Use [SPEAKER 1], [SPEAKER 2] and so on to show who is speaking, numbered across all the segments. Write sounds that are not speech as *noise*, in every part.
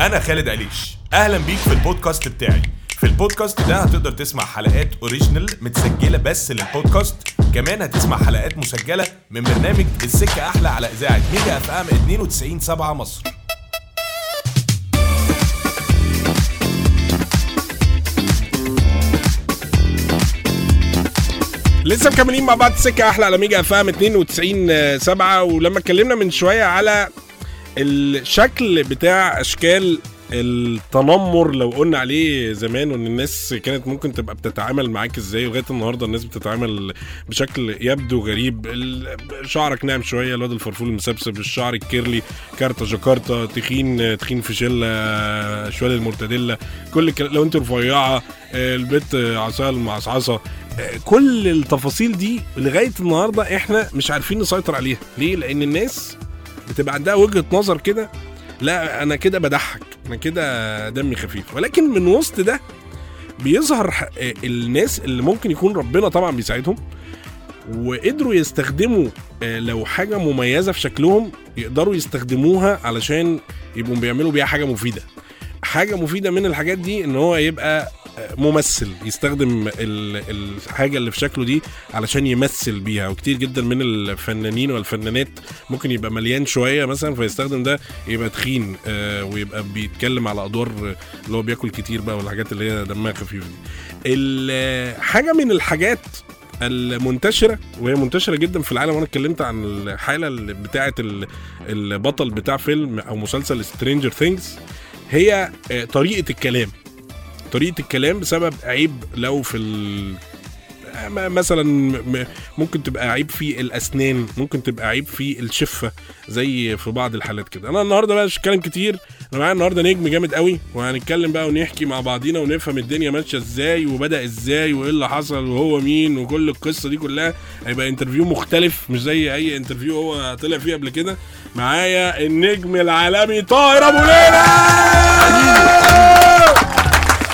[SPEAKER 1] أنا خالد أليش أهلا بيك في البودكاست بتاعي في البودكاست ده هتقدر تسمع حلقات اوريجينال متسجلة بس للبودكاست كمان هتسمع حلقات مسجلة من برنامج السكة أحلى على إذاعة ميجا أف أم 92.7 مصر
[SPEAKER 2] لسه مكملين مع بعض سكه احلى على ميجا فام 92 7 ولما اتكلمنا من شويه على الشكل بتاع اشكال التنمر لو قلنا عليه زمان وان الناس كانت ممكن تبقى بتتعامل معاك ازاي ولغايه النهارده الناس بتتعامل بشكل يبدو غريب ال- شعرك ناعم شويه الواد الفرفول المسبسب الشعر الكيرلي كارتا جاكارتا تخين تخين في شله شوال المرتديلا كل الكلام- لو انت رفيعه البت عصاها المعصعصه كل التفاصيل دي لغايه النهارده احنا مش عارفين نسيطر عليها ليه لان الناس بتبقى عندها وجهه نظر كده لا انا كده بضحك انا كده دمي خفيف ولكن من وسط ده بيظهر ح- الناس اللي ممكن يكون ربنا طبعا بيساعدهم وقدروا يستخدموا آه، لو حاجه مميزه في شكلهم يقدروا يستخدموها علشان يبقوا بيعملوا بيها حاجه مفيده حاجه مفيده من الحاجات دي ان هو يبقى آه، ممثل يستخدم ال- الحاجه اللي في شكله دي علشان يمثل بيها وكتير جدا من الفنانين والفنانات ممكن يبقى مليان شويه مثلا فيستخدم ده يبقى تخين آه، ويبقى بيتكلم على ادوار آه، اللي هو بياكل كتير بقى والحاجات اللي هي دمها خفيف دي ال- آه، حاجه من الحاجات المنتشره وهي منتشره جدا في العالم وانا اتكلمت عن الحاله اللي بتاعه ال- البطل بتاع فيلم او مسلسل سترينجر ثينجز هي آه، طريقه الكلام طريقه الكلام بسبب عيب لو في ال... آه، م- مثلا م- ممكن تبقى عيب في الاسنان ممكن تبقى عيب في الشفه زي في بعض الحالات كده انا النهارده بقى مش هتكلم كتير انا معايا النهارده نجم جامد قوي وهنتكلم بقى ونحكي مع بعضينا ونفهم الدنيا ماشيه ازاي وبدا ازاي وايه اللي حصل وهو مين وكل القصه دي كلها هيبقى انترفيو مختلف مش زي اي انترفيو هو طلع فيه قبل كده معايا النجم العالمي طاهر ابو ليلى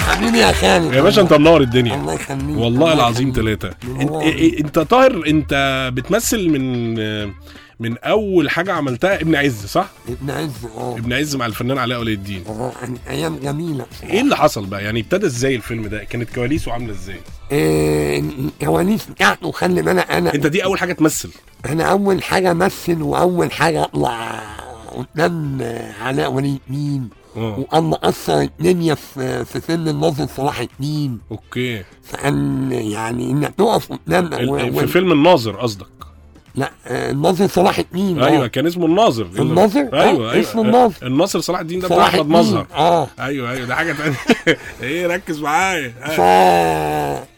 [SPEAKER 3] خليني يا خالد
[SPEAKER 2] يا باشا انت منور الدنيا
[SPEAKER 3] الله يخليك
[SPEAKER 2] والله العظيم ثلاثة
[SPEAKER 3] والله.
[SPEAKER 2] انت إيه، طاهر انت بتمثل من من اول حاجة عملتها ابن عز صح؟
[SPEAKER 3] ابن عز اه
[SPEAKER 2] ابن عز مع الفنان علاء ولي الدين
[SPEAKER 3] آه، كان ايام جميله
[SPEAKER 2] ايه اللي حصل بقى؟ يعني ابتدى ازاي الفيلم ده؟ كانت كواليسه عاملة ازاي؟
[SPEAKER 3] إيه، الكواليس بتاعته يعني خلي بالك انا
[SPEAKER 2] انت دي اول حاجة تمثل
[SPEAKER 3] انا اول حاجه امثل واول حاجه اطلع قدام علاء ولي الدين
[SPEAKER 2] اه.
[SPEAKER 3] وقام اثر الدنيا في في فيلم الناظر صلاح الدين
[SPEAKER 2] اوكي
[SPEAKER 3] فكان يعني انك تقف قدام
[SPEAKER 2] ال-
[SPEAKER 3] و-
[SPEAKER 2] في
[SPEAKER 3] و-
[SPEAKER 2] فيلم الناظر قصدك
[SPEAKER 3] لا آه، الناظر صلاح الدين آه.
[SPEAKER 2] ايوه كان اسمه الناظر
[SPEAKER 3] الناظر؟
[SPEAKER 2] ايوه
[SPEAKER 3] اه،
[SPEAKER 2] ايوه
[SPEAKER 3] اسمه الناظر.
[SPEAKER 2] الناظر صلاح الدين ده بتاع
[SPEAKER 3] صلاح
[SPEAKER 2] احمد
[SPEAKER 3] الدين
[SPEAKER 2] مظهر
[SPEAKER 3] اه
[SPEAKER 2] ايوه ايوه ده حاجة تانية *laughs* ايه ركز معايا آه.
[SPEAKER 3] ف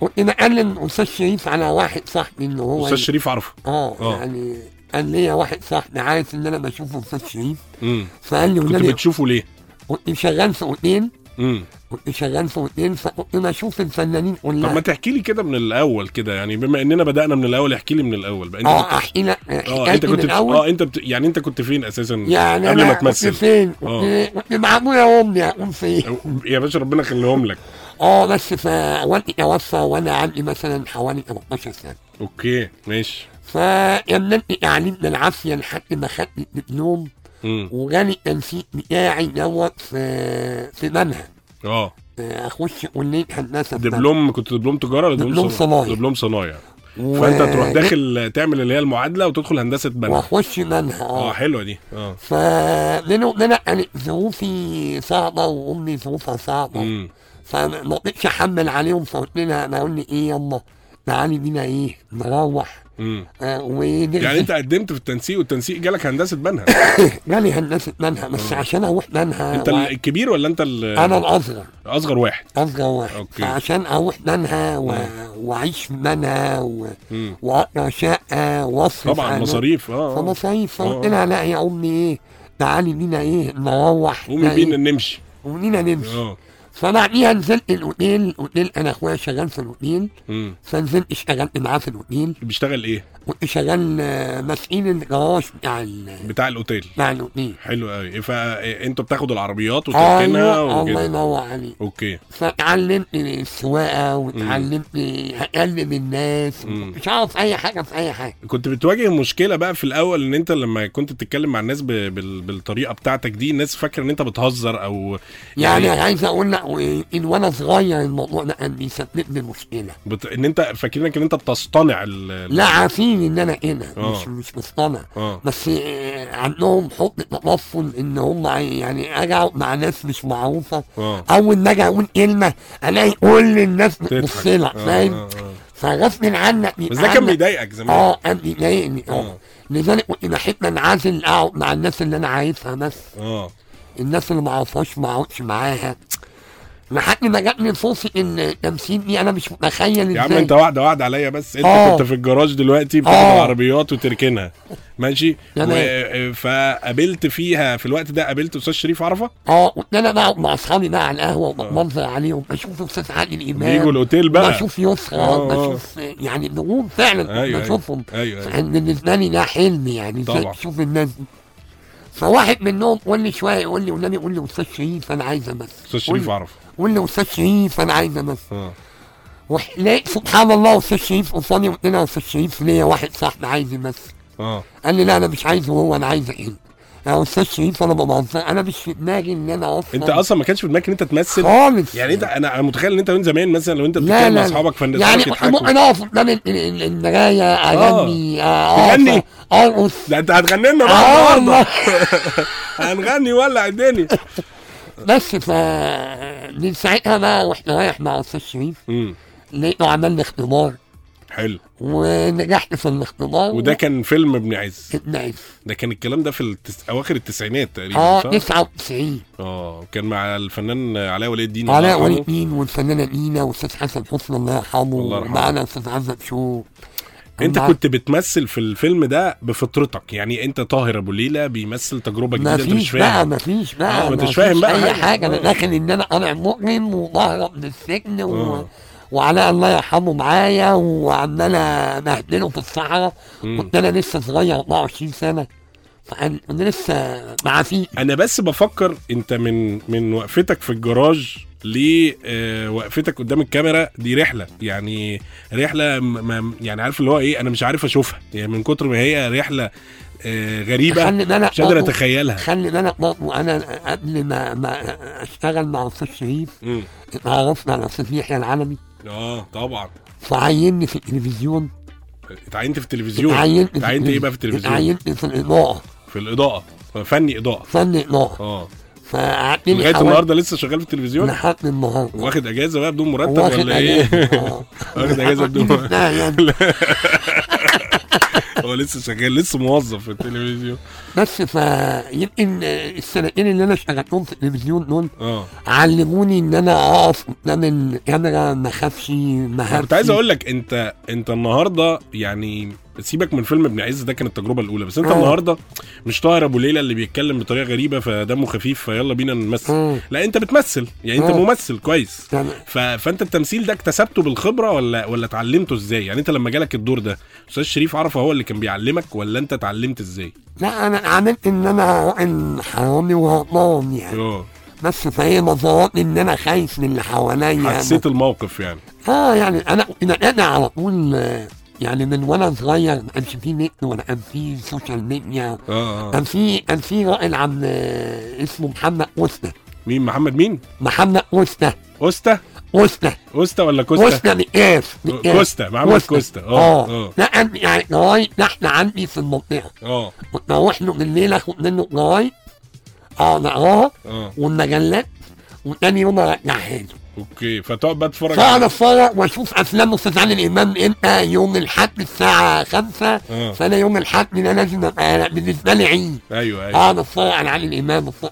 [SPEAKER 3] كنت بكلم استاذ شريف على واحد صاحبي ان هو
[SPEAKER 2] استاذ شريف عرفه
[SPEAKER 3] اه
[SPEAKER 2] آه.
[SPEAKER 3] يعني قال ليا واحد صاحبي عارف ان انا بشوفه استاذ شريف
[SPEAKER 2] امم
[SPEAKER 3] فقال لي
[SPEAKER 2] كنت
[SPEAKER 3] والنبي
[SPEAKER 2] بتشوفه ليه؟
[SPEAKER 3] كنت شغال في اوتيل
[SPEAKER 2] امم
[SPEAKER 3] كنت شغال في اوتيل فكنت بشوف الفنانين
[SPEAKER 2] طب ما
[SPEAKER 3] كلها
[SPEAKER 2] تحكي لي كده من الاول كده يعني بما اننا بدانا من الاول احكي لي من الاول بقى انت كنت-
[SPEAKER 3] اه احكي لك
[SPEAKER 2] اه انت
[SPEAKER 3] حكايتي من
[SPEAKER 2] كنت
[SPEAKER 3] الاول
[SPEAKER 2] اه انت بت... يعني انت كنت فين اساسا
[SPEAKER 3] يعني
[SPEAKER 2] قبل
[SPEAKER 3] أنا
[SPEAKER 2] ما
[SPEAKER 3] كنت
[SPEAKER 2] تمثل
[SPEAKER 3] فين
[SPEAKER 2] آه.
[SPEAKER 3] كنت كنت مع ابويا وامي اقوم فين
[SPEAKER 2] أو- يا باشا ربنا يخليهم لك
[SPEAKER 3] اه بس فوالدي توفى وانا عندي مثلا حوالي 18 سنه
[SPEAKER 2] اوكي ماشي
[SPEAKER 3] فكملت تعليم بالعافيه لحد ما خدت الدبلوم
[SPEAKER 2] امم
[SPEAKER 3] وجالي التنسيق بتاعي دوت في في منهج
[SPEAKER 2] اه
[SPEAKER 3] اخش كليه هندسه في
[SPEAKER 2] دبلوم كنت دبلوم تجاره ولا
[SPEAKER 3] دبلوم
[SPEAKER 2] صنا-
[SPEAKER 3] صناعي.
[SPEAKER 2] دبلوم صنايع
[SPEAKER 3] و-
[SPEAKER 2] فانت تروح داخل تعمل اللي هي المعادله وتدخل هندسه
[SPEAKER 3] منهج.
[SPEAKER 2] بنك
[SPEAKER 3] واخش منهج
[SPEAKER 2] اه
[SPEAKER 3] اه
[SPEAKER 2] حلوه دي اه
[SPEAKER 3] فمنه وبينه كانت يعني ظروفي صعبه وامي ظروفها صعبه
[SPEAKER 2] امم
[SPEAKER 3] فما قدرتش احمل عليهم فقلت لها انا اقول لي ايه يلا تعالي بينا ايه نروح
[SPEAKER 2] امم
[SPEAKER 3] آه
[SPEAKER 2] يعني
[SPEAKER 3] ونرجع
[SPEAKER 2] انت قدمت في التنسيق والتنسيق جالك هندسه
[SPEAKER 3] *laughs*
[SPEAKER 2] بنها
[SPEAKER 3] جالي هندسه منهج بس
[SPEAKER 2] آه.
[SPEAKER 3] عشان اروح منهج
[SPEAKER 2] انت ال- الكبير ولا انت ال-
[SPEAKER 3] انا الاصغر
[SPEAKER 2] اصغر واحد
[SPEAKER 3] اصغر واحد
[SPEAKER 2] أوكي.
[SPEAKER 3] فعشان اروح منها و... واعيش منها و...
[SPEAKER 2] مم.
[SPEAKER 3] واقرا شقه واصرف
[SPEAKER 2] طبعا
[SPEAKER 3] على-
[SPEAKER 2] مصاريف اه آه.
[SPEAKER 3] فمصاريف
[SPEAKER 2] آه.
[SPEAKER 3] فقلت لها لا يا امي ايه تعالي بينا ايه نروح
[SPEAKER 2] قومي
[SPEAKER 3] بقى إيه؟
[SPEAKER 2] بينا نمشي
[SPEAKER 3] وبينا نمشي
[SPEAKER 2] اه
[SPEAKER 3] فبعديها نزلت الاوتيل الاوتيل انا اخويا شغال في الاوتيل
[SPEAKER 2] مم.
[SPEAKER 3] فنزلت اشتغلت معاه في الاوتيل
[SPEAKER 2] بيشتغل ايه
[SPEAKER 3] كنت شغال آه، مسئول الجراج بتاع ال-
[SPEAKER 2] بتاع الاوتيل
[SPEAKER 3] بتاع الاوتيل
[SPEAKER 2] حلو إيه، قوي فانتوا بتاخدوا العربيات وتركنها
[SPEAKER 3] ايوه الله
[SPEAKER 2] وكده
[SPEAKER 3] ينور عليك
[SPEAKER 2] اوكي
[SPEAKER 3] فاتعلمت السواقه واتعلمت اكلم الناس مش عارف اي حاجه في اي حاجه
[SPEAKER 2] كنت بتواجه مشكلة بقى في الأول إن أنت لما كنت بتتكلم مع الناس ب... بال... بالطريقة بتاعتك دي الناس فاكرة إن أنت بتهزر أو
[SPEAKER 3] يعني عايز اقول لك و- ان وانا صغير الموضوع ده كان بيسبب لي مشكله
[SPEAKER 2] بت... إن أنت فاكرينك إن أنت بتصطنع ال... ال-
[SPEAKER 3] لا عارفين ان انا هنا مش
[SPEAKER 2] آه.
[SPEAKER 3] مش مصطنع
[SPEAKER 2] آه.
[SPEAKER 3] بس آه، عندهم حب تطفل ان هم عاي- يعني اجي اقعد مع ناس مش معروفه
[SPEAKER 2] آه.
[SPEAKER 3] اول ما اجي اقول كلمه الاقي كل الناس بتبص لك
[SPEAKER 2] تضحك
[SPEAKER 3] فاهم فغصب عنك
[SPEAKER 2] آه، بس ده كان
[SPEAKER 3] بيتعامل-
[SPEAKER 2] بيضايقك زمان
[SPEAKER 3] اه كان بيضايقني
[SPEAKER 2] آه.
[SPEAKER 3] اه لذلك كنت بحب انعزل اقعد مع الناس اللي انا عارفها بس
[SPEAKER 2] اه
[SPEAKER 3] الناس اللي ما اعرفهاش ما اقعدش معاها لحد ما جاتني فرصه ان التمثيل دي انا مش متخيل
[SPEAKER 2] يا عم
[SPEAKER 3] ازاي.
[SPEAKER 2] انت واحده واحده عليا بس انت
[SPEAKER 3] اه.
[SPEAKER 2] كنت في الجراج دلوقتي بتاخد
[SPEAKER 3] اه.
[SPEAKER 2] العربيات وتركنها ماشي
[SPEAKER 3] تمام. إيه؟
[SPEAKER 2] و... فقابلت فيها في الوقت ده قابلت استاذ شريف عرفه
[SPEAKER 3] اه كنت انا بقعد مع اصحابي بقى على القهوه وبتمنظر عليهم بشوف استاذ علي الامام
[SPEAKER 2] بيجوا الاوتيل بقى
[SPEAKER 3] بشوف يسرا
[SPEAKER 2] اه، اه.
[SPEAKER 3] بشوف يعني النجوم فعلا
[SPEAKER 2] ايوه،
[SPEAKER 3] آه، أيوة
[SPEAKER 2] ايوه.
[SPEAKER 3] بشوفهم
[SPEAKER 2] ايوه، ايوه.
[SPEAKER 3] فكان بالنسبه لي ده حلم يعني ازاي
[SPEAKER 2] طبعا.
[SPEAKER 3] تشوف الناس دي فواحد منهم قول لي شويه يقول لي والنبي قول لي استاذ شريف انا عايز امثل
[SPEAKER 2] استاذ شريف عرفه
[SPEAKER 3] قول لي استاذ شريف انا عايز امثل
[SPEAKER 2] اه
[SPEAKER 3] ولقيت سبحان الله استاذ شريف قصادي قلت له يا استاذ شريف ليا واحد صاحبي عايز يمثل
[SPEAKER 2] اه
[SPEAKER 3] قال لي لا انا مش عايزه هو انا عايزك انت يا استاذ شريف انا بمنظر انا مش في دماغي ان انا اصلا
[SPEAKER 2] انت اصلا ما كانش في دماغك ان انت تمثل
[SPEAKER 3] خالص
[SPEAKER 2] يعني انت انا انا متخيل ان انت من زمان مثلا لو انت
[SPEAKER 3] لا
[SPEAKER 2] بتتكلم مع
[SPEAKER 3] لا
[SPEAKER 2] اصحابك فالناس
[SPEAKER 3] يعني
[SPEAKER 2] كلهم
[SPEAKER 3] كنت
[SPEAKER 2] يضحكوا.
[SPEAKER 3] ممكن اقف قدام ال- ال- المرايه اغني آه،
[SPEAKER 2] تغني؟
[SPEAKER 3] أقف، ارقص
[SPEAKER 2] ده انت هتغني لنا بقى
[SPEAKER 3] اه
[SPEAKER 2] النهارده
[SPEAKER 3] والله
[SPEAKER 2] *laughs* هنغني ولع الدنيا
[SPEAKER 3] بس ف من ساعتها بقى رحت رايح مع استاذ شريف
[SPEAKER 2] امم
[SPEAKER 3] لقيته عمل لي اختبار
[SPEAKER 2] حلو
[SPEAKER 3] ونجحت في الاختبار
[SPEAKER 2] وده كان فيلم ابن عز
[SPEAKER 3] كنت نايف
[SPEAKER 2] ده كان الكلام ده في التس... اواخر التسعينات تقريبا
[SPEAKER 3] اه
[SPEAKER 2] صح؟
[SPEAKER 3] 99
[SPEAKER 2] اه كان مع الفنان علاء ولي الدين الله
[SPEAKER 3] علاء
[SPEAKER 2] يرحمه.
[SPEAKER 3] ولي الدين والفنانه نينا واستاذ حسن حسني الله يرحمه
[SPEAKER 2] الله يرحمه.
[SPEAKER 3] ومعانا استاذ عزت شو
[SPEAKER 2] انت
[SPEAKER 3] مع-
[SPEAKER 2] كنت بتمثل في الفيلم ده بفطرتك يعني انت طاهر ابو ليلى بيمثل تجربه جديده
[SPEAKER 3] ما
[SPEAKER 2] انت مش
[SPEAKER 3] فيش بقى
[SPEAKER 2] فاهم
[SPEAKER 3] ما فيش بقى
[SPEAKER 2] آه، ما انتش
[SPEAKER 3] فيش
[SPEAKER 2] فاهم بقى
[SPEAKER 3] اي
[SPEAKER 2] حاجة.
[SPEAKER 3] حاجه انا
[SPEAKER 2] آه.
[SPEAKER 3] داخل ان انا طالع مؤمن وبهرب من السجن و...
[SPEAKER 2] آه.
[SPEAKER 3] وعلاء الله يرحمه معايا وعمال بهدله في الصحراء كنت انا لسه صغير 24 سنه فأنا كنت لسه معافيك
[SPEAKER 2] انا بس بفكر انت من من وقفتك في الجراج لوقفتك قدام الكاميرا دي رحله يعني رحله م- م- يعني عارف اللي هو ايه انا مش عارف اشوفها يعني من كتر ما هي رحله آه، غريبه
[SPEAKER 3] خلي بالك
[SPEAKER 2] مش قادر
[SPEAKER 3] برضه-
[SPEAKER 2] اتخيلها
[SPEAKER 3] خلي بالك برضه انا قبل ما, ما اشتغل مع استاذ شريف
[SPEAKER 2] مم.
[SPEAKER 3] اتعرفنا على استاذ يحيى العلمي
[SPEAKER 2] اه طبعا
[SPEAKER 3] فعيني في التلفزيون
[SPEAKER 2] اتعينت في التلفزيون
[SPEAKER 3] اتعينت في
[SPEAKER 2] اتعينت ايه
[SPEAKER 3] التلفزيون.
[SPEAKER 2] بقى في التلفزيون
[SPEAKER 3] اتعينت في الاضاءه
[SPEAKER 2] في الاضاءه فني اضاءه
[SPEAKER 3] فن اضاءه
[SPEAKER 2] اه
[SPEAKER 3] فقعدت لي
[SPEAKER 2] لغايه
[SPEAKER 3] حوالي-
[SPEAKER 2] النهارده لسه شغال في التلفزيون
[SPEAKER 3] لحد النهارده
[SPEAKER 2] واخد اجازه بقى بدون مرتب
[SPEAKER 3] نعم. واخد
[SPEAKER 2] ولا ايه؟
[SPEAKER 3] أجازة، آه.
[SPEAKER 2] *laughs* واخد اجازه بدون مرتب.
[SPEAKER 3] *laughs* لا يعني
[SPEAKER 2] *laughs* هو لسه شغال لسه موظف في التلفزيون
[SPEAKER 3] بس فيمكن السنتين اللي انا اشتغلتهم في التلفزيون دول
[SPEAKER 2] اه
[SPEAKER 3] علموني ان انا اقف قدام الكاميرا ما اخافش ما
[SPEAKER 2] أنا كنت عايز اقول لك انت انت النهارده يعني سيبك من فيلم ابن عز ده كانت التجربه الاولى بس انت
[SPEAKER 3] آه.
[SPEAKER 2] النهارده مش طاهر ابو ليلى اللي بيتكلم بطريقه غريبه فدمه خفيف فيلا بينا نمثل
[SPEAKER 3] آه.
[SPEAKER 2] لا انت بتمثل يعني انت
[SPEAKER 3] آه. يعني
[SPEAKER 2] ممثل كويس
[SPEAKER 3] تمام.
[SPEAKER 2] ف... فانت التمثيل ده اكتسبته بالخبره ولا ولا اتعلمته ازاي يعني انت لما جالك الدور ده استاذ شريف عرفه هو اللي كان بيعلمك ولا انت اتعلمت ازاي
[SPEAKER 3] لا انا عملت ان انا راجل حرامي وغلطان يعني
[SPEAKER 2] اه
[SPEAKER 3] بس فهي نظرات ان انا خايف من اللي حواليا
[SPEAKER 2] حسيت الموقف يعني
[SPEAKER 3] اه يعني انا انا انا على طول آه، يعني من وانا صغير ما كانش في نت ولا كان في سوشيال ميديا
[SPEAKER 2] اه اه
[SPEAKER 3] كان في كان في راجل عم آه، اسمه محمد قوسنا
[SPEAKER 2] مين محمد مين
[SPEAKER 3] محمد قوسنا
[SPEAKER 2] اوستا
[SPEAKER 3] قوسنا
[SPEAKER 2] اوستا ولا كوستا
[SPEAKER 3] قوسنا مقاس مقاس.
[SPEAKER 2] كوستا، محمد كوستا. آه،
[SPEAKER 3] اه
[SPEAKER 2] آه.
[SPEAKER 3] اه ده كان يعني جرايد نحن عندي في المنطقه
[SPEAKER 2] اه
[SPEAKER 3] كنت اروح له بالليل اخد منه جرايد اقعد اقراها
[SPEAKER 2] اه
[SPEAKER 3] آه، والمجلات وتاني يوم ارجعها له
[SPEAKER 2] اوكي فتقعد بقى تتفرج
[SPEAKER 3] فاقعد
[SPEAKER 2] على-
[SPEAKER 3] اتفرج واشوف افلام استاذ علي الامام امتى يوم الاحد الساعه 5
[SPEAKER 2] آه.
[SPEAKER 3] فانا يوم الاحد ده لازم ابقى بالنسبه لي عيد
[SPEAKER 2] ايوه ايوه
[SPEAKER 3] اقعد اتفرج على علي الامام أتفرج.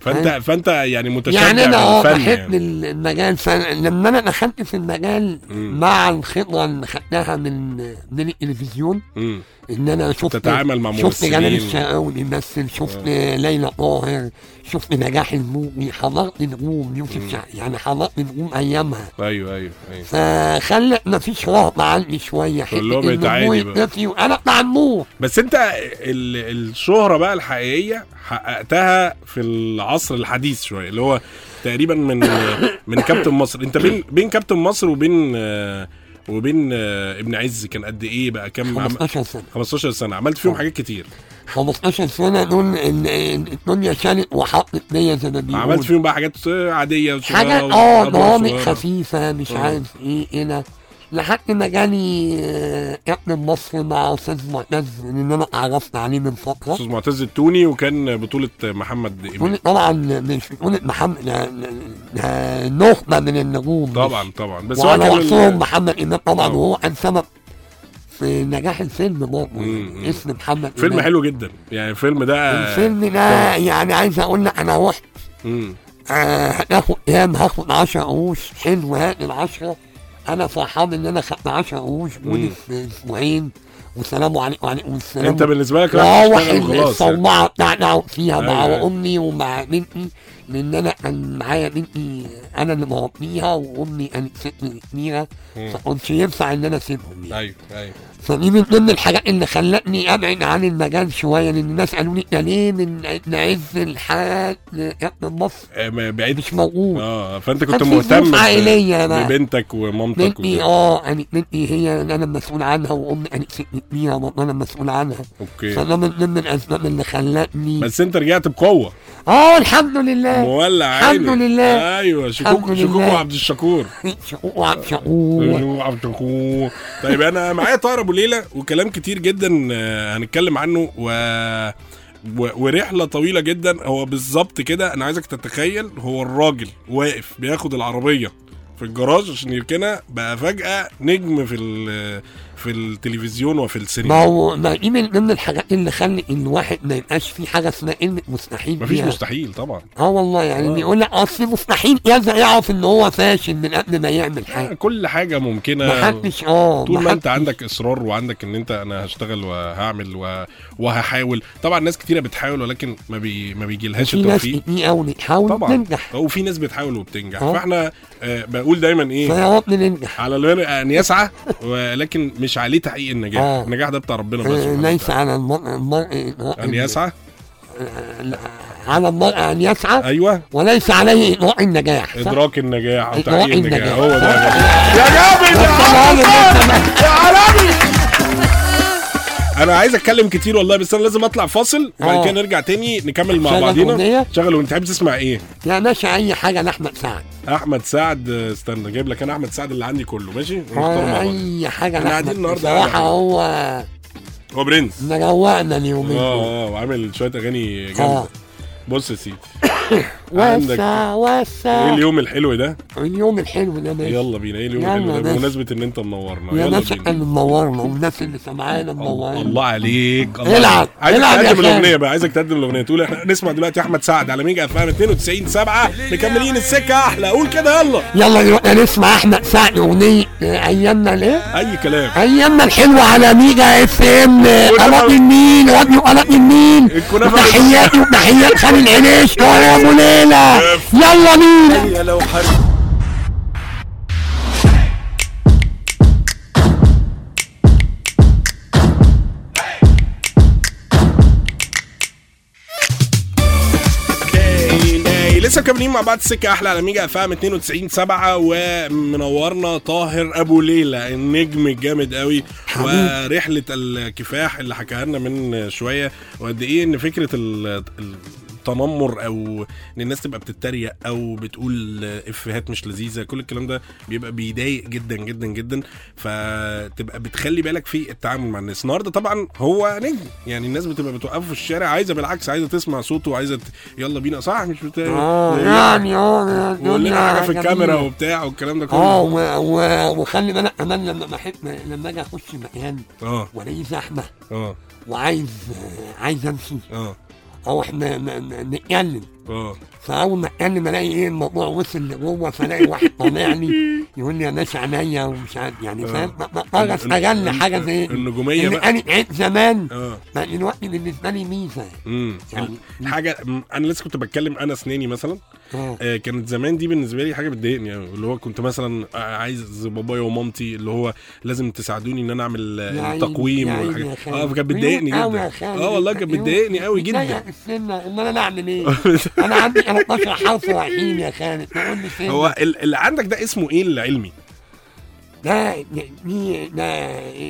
[SPEAKER 2] فانت فانت يعني متشجع
[SPEAKER 3] يعني انا اه
[SPEAKER 2] للفن
[SPEAKER 3] بحب
[SPEAKER 2] يعني.
[SPEAKER 3] ال- المجال فلما انا دخلت في المجال مع الخبره اللي خدناها من من التلفزيون
[SPEAKER 2] مم.
[SPEAKER 3] ان انا شفت
[SPEAKER 2] تتعامل مع
[SPEAKER 3] شفت جلال
[SPEAKER 2] ممثلين. آه.
[SPEAKER 3] الشقاوي بيمثل شفت ليلى طاهر شفت نجاح المومي حضرت نجوم يوسف شع- يعني حضرت نجوم ايامها
[SPEAKER 2] ايوه ايوه ايوه
[SPEAKER 3] فخلى مفيش رهبه عندي شويه حته
[SPEAKER 2] كلهم
[SPEAKER 3] إن
[SPEAKER 2] يتعادي
[SPEAKER 3] النور
[SPEAKER 2] بقى.
[SPEAKER 3] يطفي وانا مع النور
[SPEAKER 2] بس انت ال- الشهرة بقى الحقيقية حققتها في العصر الحديث شوية اللي هو تقريبا من من كابتن مصر انت بين بين كابتن مصر وبين آه، وبين آه، ابن عز كان قد ايه بقى كام عم-
[SPEAKER 3] 15 سنه
[SPEAKER 2] 15 سنة عملت
[SPEAKER 3] آه.
[SPEAKER 2] فيهم حاجات كتير
[SPEAKER 3] 15 سنه دول ان إن الدنيا شالت وحطت ليا زي ما بيقولوا
[SPEAKER 2] عملت فيهم بقى حاجات آه، عادية وصغيرة
[SPEAKER 3] حاجة اه
[SPEAKER 2] وأدوار
[SPEAKER 3] ضوامق
[SPEAKER 2] صغيرة.
[SPEAKER 3] خفيفة مش
[SPEAKER 2] آه.
[SPEAKER 3] عارف ايه هنا لحد ما جالي آه، ابن مصر مع استاذ معتز اللي انا اتعرفت عليه من فترة
[SPEAKER 2] استاذ معتز التوني وكان بطولة محمد إمام.
[SPEAKER 3] بطولة طبعا مش بطولة محمد ده- ده نخبة من النجوم
[SPEAKER 2] طبعا طبعا بس هو
[SPEAKER 3] وعلى
[SPEAKER 2] كان
[SPEAKER 3] رأسهم
[SPEAKER 2] ال-
[SPEAKER 3] محمد امام طبعا
[SPEAKER 2] آه.
[SPEAKER 3] وهو كان سبب في نجاح الفيلم برضه يعني
[SPEAKER 2] مم.
[SPEAKER 3] اسم محمد
[SPEAKER 2] فيلم
[SPEAKER 3] إمام.
[SPEAKER 2] حلو جدا يعني الفيلم ده
[SPEAKER 3] الفيلم ده يعني عايز اقول لك انا رحت
[SPEAKER 2] طيب. مم.
[SPEAKER 3] آه، هناخد كام هاخد 10 قروش حلو هات العشرة انا فرحان ان انا خدت 10 قروش مدة اسبوعين والسلام آه، عليكم وعليكم السلام
[SPEAKER 2] انت بالنسبة لك رايح
[SPEAKER 3] واروح
[SPEAKER 2] تشتغل وخلاص يعني.
[SPEAKER 3] الصومعه بتاعتي اقعد فيها مع
[SPEAKER 2] أيوة.
[SPEAKER 3] امي ومع بنتي لان انا كان معايا بنتي انا اللي مربيها وامي كانت ست كبيره فكنت ينفع ان انا اسيبهم يعني
[SPEAKER 2] ايوه ايوه
[SPEAKER 3] فدي من ضمن الحاجات اللي خلتني ابعد عن المجال شويه لان الناس قالوا لي ده ليه من ابن عز الحاج كابتن مصر
[SPEAKER 2] آه، ما بعيد
[SPEAKER 3] مش موجود
[SPEAKER 2] اه فانت كنت
[SPEAKER 3] كان أيوه. في
[SPEAKER 2] مهتم
[SPEAKER 3] ظروف
[SPEAKER 2] ب-
[SPEAKER 3] عائلية بقى.
[SPEAKER 2] ببنتك ومامتك
[SPEAKER 3] بنتي
[SPEAKER 2] وكده.
[SPEAKER 3] اه يعني بنتي هي اللي انا مسؤول عنها وامي انا كبيره برضه انا مسؤول عنها
[SPEAKER 2] اوكي
[SPEAKER 3] فده من ضمن الاسباب اللي خلتني
[SPEAKER 2] بس انت رجعت بقوه
[SPEAKER 3] اه الحمد لله
[SPEAKER 2] مولع
[SPEAKER 3] الحمد
[SPEAKER 2] عيني.
[SPEAKER 3] لله.
[SPEAKER 2] ايوه شكوك
[SPEAKER 3] الحمد
[SPEAKER 2] شكوك
[SPEAKER 3] لله.
[SPEAKER 2] وعبد الشكور
[SPEAKER 3] شقوق وعب شقوق
[SPEAKER 2] شكوك وعبد الشكور طيب انا معايا طاهر ابو ليلى وكلام كتير جدا آه، هنتكلم عنه و و- ورحله طويله جدا هو بالظبط كده انا عايزك تتخيل هو الراجل واقف بياخد العربيه في الجراج عشان يركنها بقى فجاه نجم في ال- في التلفزيون وفي السينما
[SPEAKER 3] ما هو ما دي من ضمن الحاجات اللي خلت الواحد ما يبقاش في حاجه اسمها كلمه مستحيل
[SPEAKER 2] مفيش
[SPEAKER 3] فيها.
[SPEAKER 2] مستحيل طبعا
[SPEAKER 3] اه والله
[SPEAKER 2] آه.
[SPEAKER 3] يعني اللي يقول لك اصل مستحيل كذا يعرف ان هو فاشل من قبل ما يعمل حاجه
[SPEAKER 2] كل حاجه ممكنه
[SPEAKER 3] محدش اه
[SPEAKER 2] آه. طول ما
[SPEAKER 3] محدش-
[SPEAKER 2] انت عندك اصرار وعندك ان انت انا هشتغل وهعمل و... وهحاول طبعا ناس كتيره بتحاول ولكن ما بي... ما بيجيلهاش
[SPEAKER 3] في ناس
[SPEAKER 2] التوفيق
[SPEAKER 3] كتير قوي بتحاول
[SPEAKER 2] طبعا
[SPEAKER 3] تنجح
[SPEAKER 2] وفي ناس بتحاول وبتنجح
[SPEAKER 3] اه.
[SPEAKER 2] فاحنا آه بقول دايما ايه
[SPEAKER 3] فيا رب ننجح
[SPEAKER 2] على الورق ان يسعى ولكن مش عليه تحقيق النجاح
[SPEAKER 3] اه.
[SPEAKER 2] النجاح ده بتاع ربنا بس
[SPEAKER 3] آه،
[SPEAKER 2] سبحانه
[SPEAKER 3] ليس
[SPEAKER 2] وتعالى.
[SPEAKER 3] على المرء المرء
[SPEAKER 2] ان يسعى
[SPEAKER 3] على المرء ان يسعى
[SPEAKER 2] ايوه
[SPEAKER 3] وليس عليه اضراء النجاح صح؟
[SPEAKER 2] ادراك النجاح او
[SPEAKER 3] إدراك
[SPEAKER 2] تحقيق النجاح
[SPEAKER 3] النجاح.
[SPEAKER 2] هو ده يا جماعة.
[SPEAKER 3] طبعاً إن أنت-
[SPEAKER 2] انا عايز اتكلم كتير والله بس انا لازم اطلع فاصل وبعد
[SPEAKER 3] اه.
[SPEAKER 2] كده نرجع تاني نكمل مع
[SPEAKER 3] شغل
[SPEAKER 2] بعضينا
[SPEAKER 3] أغنية؟
[SPEAKER 2] شغل وانت حابب تسمع ايه
[SPEAKER 3] يا باشا اي حاجه لاحمد سعد
[SPEAKER 2] احمد سعد استنى جايب لك انا احمد سعد اللي عندي كله ماشي ونختار مع
[SPEAKER 3] آه،
[SPEAKER 2] بعض
[SPEAKER 3] اي حاجه
[SPEAKER 2] احنا
[SPEAKER 3] لاحمد
[SPEAKER 2] قاعدين النهاردة
[SPEAKER 3] بصراحه
[SPEAKER 2] على-
[SPEAKER 3] هو
[SPEAKER 2] هو برنس
[SPEAKER 3] مروقنا اليومين
[SPEAKER 2] اه
[SPEAKER 3] دول.
[SPEAKER 2] اه وعامل شويه اغاني جامده
[SPEAKER 3] اه
[SPEAKER 2] بص يا
[SPEAKER 3] *coughs*
[SPEAKER 2] سيدي عندك
[SPEAKER 3] وسع
[SPEAKER 2] ايه
[SPEAKER 3] وسع
[SPEAKER 2] اليوم الحلو ده
[SPEAKER 3] اليوم الحلو ده ماشي
[SPEAKER 2] يلا بينا ايه اليوم
[SPEAKER 3] يلا
[SPEAKER 2] الحلو ده
[SPEAKER 3] ماشي.
[SPEAKER 2] بمناسبه ان انت منورنا
[SPEAKER 3] يا
[SPEAKER 2] يلا
[SPEAKER 3] ناس اللي
[SPEAKER 2] بينا
[SPEAKER 3] منورنا والناس اللي سمعانا
[SPEAKER 2] الله
[SPEAKER 3] منورنا
[SPEAKER 2] الله عليك الله
[SPEAKER 3] العب،
[SPEAKER 2] عليك. عايزك
[SPEAKER 3] العب يا
[SPEAKER 2] تقدم
[SPEAKER 3] خالد.
[SPEAKER 2] الاغنيه بقى عايزك تقدم الاغنيه تقول احنا نسمع دلوقتي احمد سعد على ميجا اف ام 92 7 مكملين السكه احلى قول كده يلا
[SPEAKER 3] يلا يعني دلوقتي نسمع احمد سعد اغنيه آه، ايامنا ليه
[SPEAKER 2] اي كلام
[SPEAKER 3] ايامنا الحلوه على ميجا اف ام قناه النيل راديو قناه النيل
[SPEAKER 2] الكنافة
[SPEAKER 3] وتحياتي وتحيات خالي العريش يا ابو ليلى يلا بينا
[SPEAKER 2] يا لو حر لسه مكملين مع بعض السكه احلى على ميجا اف ام 92 7 ومنورنا طاهر ابو ليلى النجم الجامد قوي
[SPEAKER 3] حبيبي.
[SPEAKER 2] ورحله الكفاح اللي حكاها لنا من شويه وقد ايه ان فكره ال- التنمر او ان الناس تبقى بتتريق او بتقول افيهات مش لذيذه كل الكلام ده بيبقى بيضايق جدا جدا جدا فتبقى بتخلي بالك في التعامل مع الناس النهارده طبعا هو نجم يعني الناس بتبقى بتوقفه في الشارع عايزه بالعكس عايزه تسمع صوته وعايزه ت- يلا بينا صح مش بت...
[SPEAKER 3] اه يعني اه
[SPEAKER 2] ويقول لنا حاجه في
[SPEAKER 3] جميلة.
[SPEAKER 2] الكاميرا وبتاع والكلام ده
[SPEAKER 3] اه
[SPEAKER 2] كله
[SPEAKER 3] و- و- وخلي بالك كمان لما بحب لما اجي اخش مكان
[SPEAKER 2] اه
[SPEAKER 3] والاقيه زحمه
[SPEAKER 2] اه
[SPEAKER 3] وعايز عايز امشي
[SPEAKER 2] اه
[SPEAKER 3] او احنا ن- ن- نتكلم
[SPEAKER 2] اه
[SPEAKER 3] فاول ما اتكلم الاقي ايه الموضوع وصل لجوه فالاقي واحد
[SPEAKER 2] *laughs*
[SPEAKER 3] طالعني يقول لي يا باشا عينيا ومش عارف يعني
[SPEAKER 2] آه.
[SPEAKER 3] فاهم بقدر استغل حاجه زي دي.
[SPEAKER 2] النجومية
[SPEAKER 3] اللي
[SPEAKER 2] بقى.
[SPEAKER 3] كانت عيب زمان
[SPEAKER 2] اه
[SPEAKER 3] بقى دلوقتي بالنسبه لي ميزه
[SPEAKER 2] امم
[SPEAKER 3] يعني
[SPEAKER 2] حاجه م- انا لسه كنت بتكلم انا اسناني مثلا
[SPEAKER 3] اه
[SPEAKER 2] آه، كانت زمان دي بالنسبه لي حاجه بتضايقني يعني اللي هو كنت مثلا آه، عايز بابايا ومامتي اللي هو لازم تساعدوني ان انا اعمل
[SPEAKER 3] يا
[SPEAKER 2] آه،
[SPEAKER 3] عيني-
[SPEAKER 2] التقويم
[SPEAKER 3] يا عيني
[SPEAKER 2] والحاجات
[SPEAKER 3] يا خالد.
[SPEAKER 2] اه فكانت بتضايقني
[SPEAKER 3] عيون قوي
[SPEAKER 2] جدا
[SPEAKER 3] يا أيوة. خالد.
[SPEAKER 2] اه والله كانت
[SPEAKER 3] عيون.
[SPEAKER 2] بتضايقني قوي
[SPEAKER 3] بتضايق
[SPEAKER 2] جدا
[SPEAKER 3] السنه امال انا اعمل
[SPEAKER 2] *laughs*
[SPEAKER 3] ايه؟ انا عندي 13 حرف وحيد يا خالد قول لي فين
[SPEAKER 2] هو ال- اللي عندك ده اسمه ايه العلمي؟
[SPEAKER 3] ده دي ده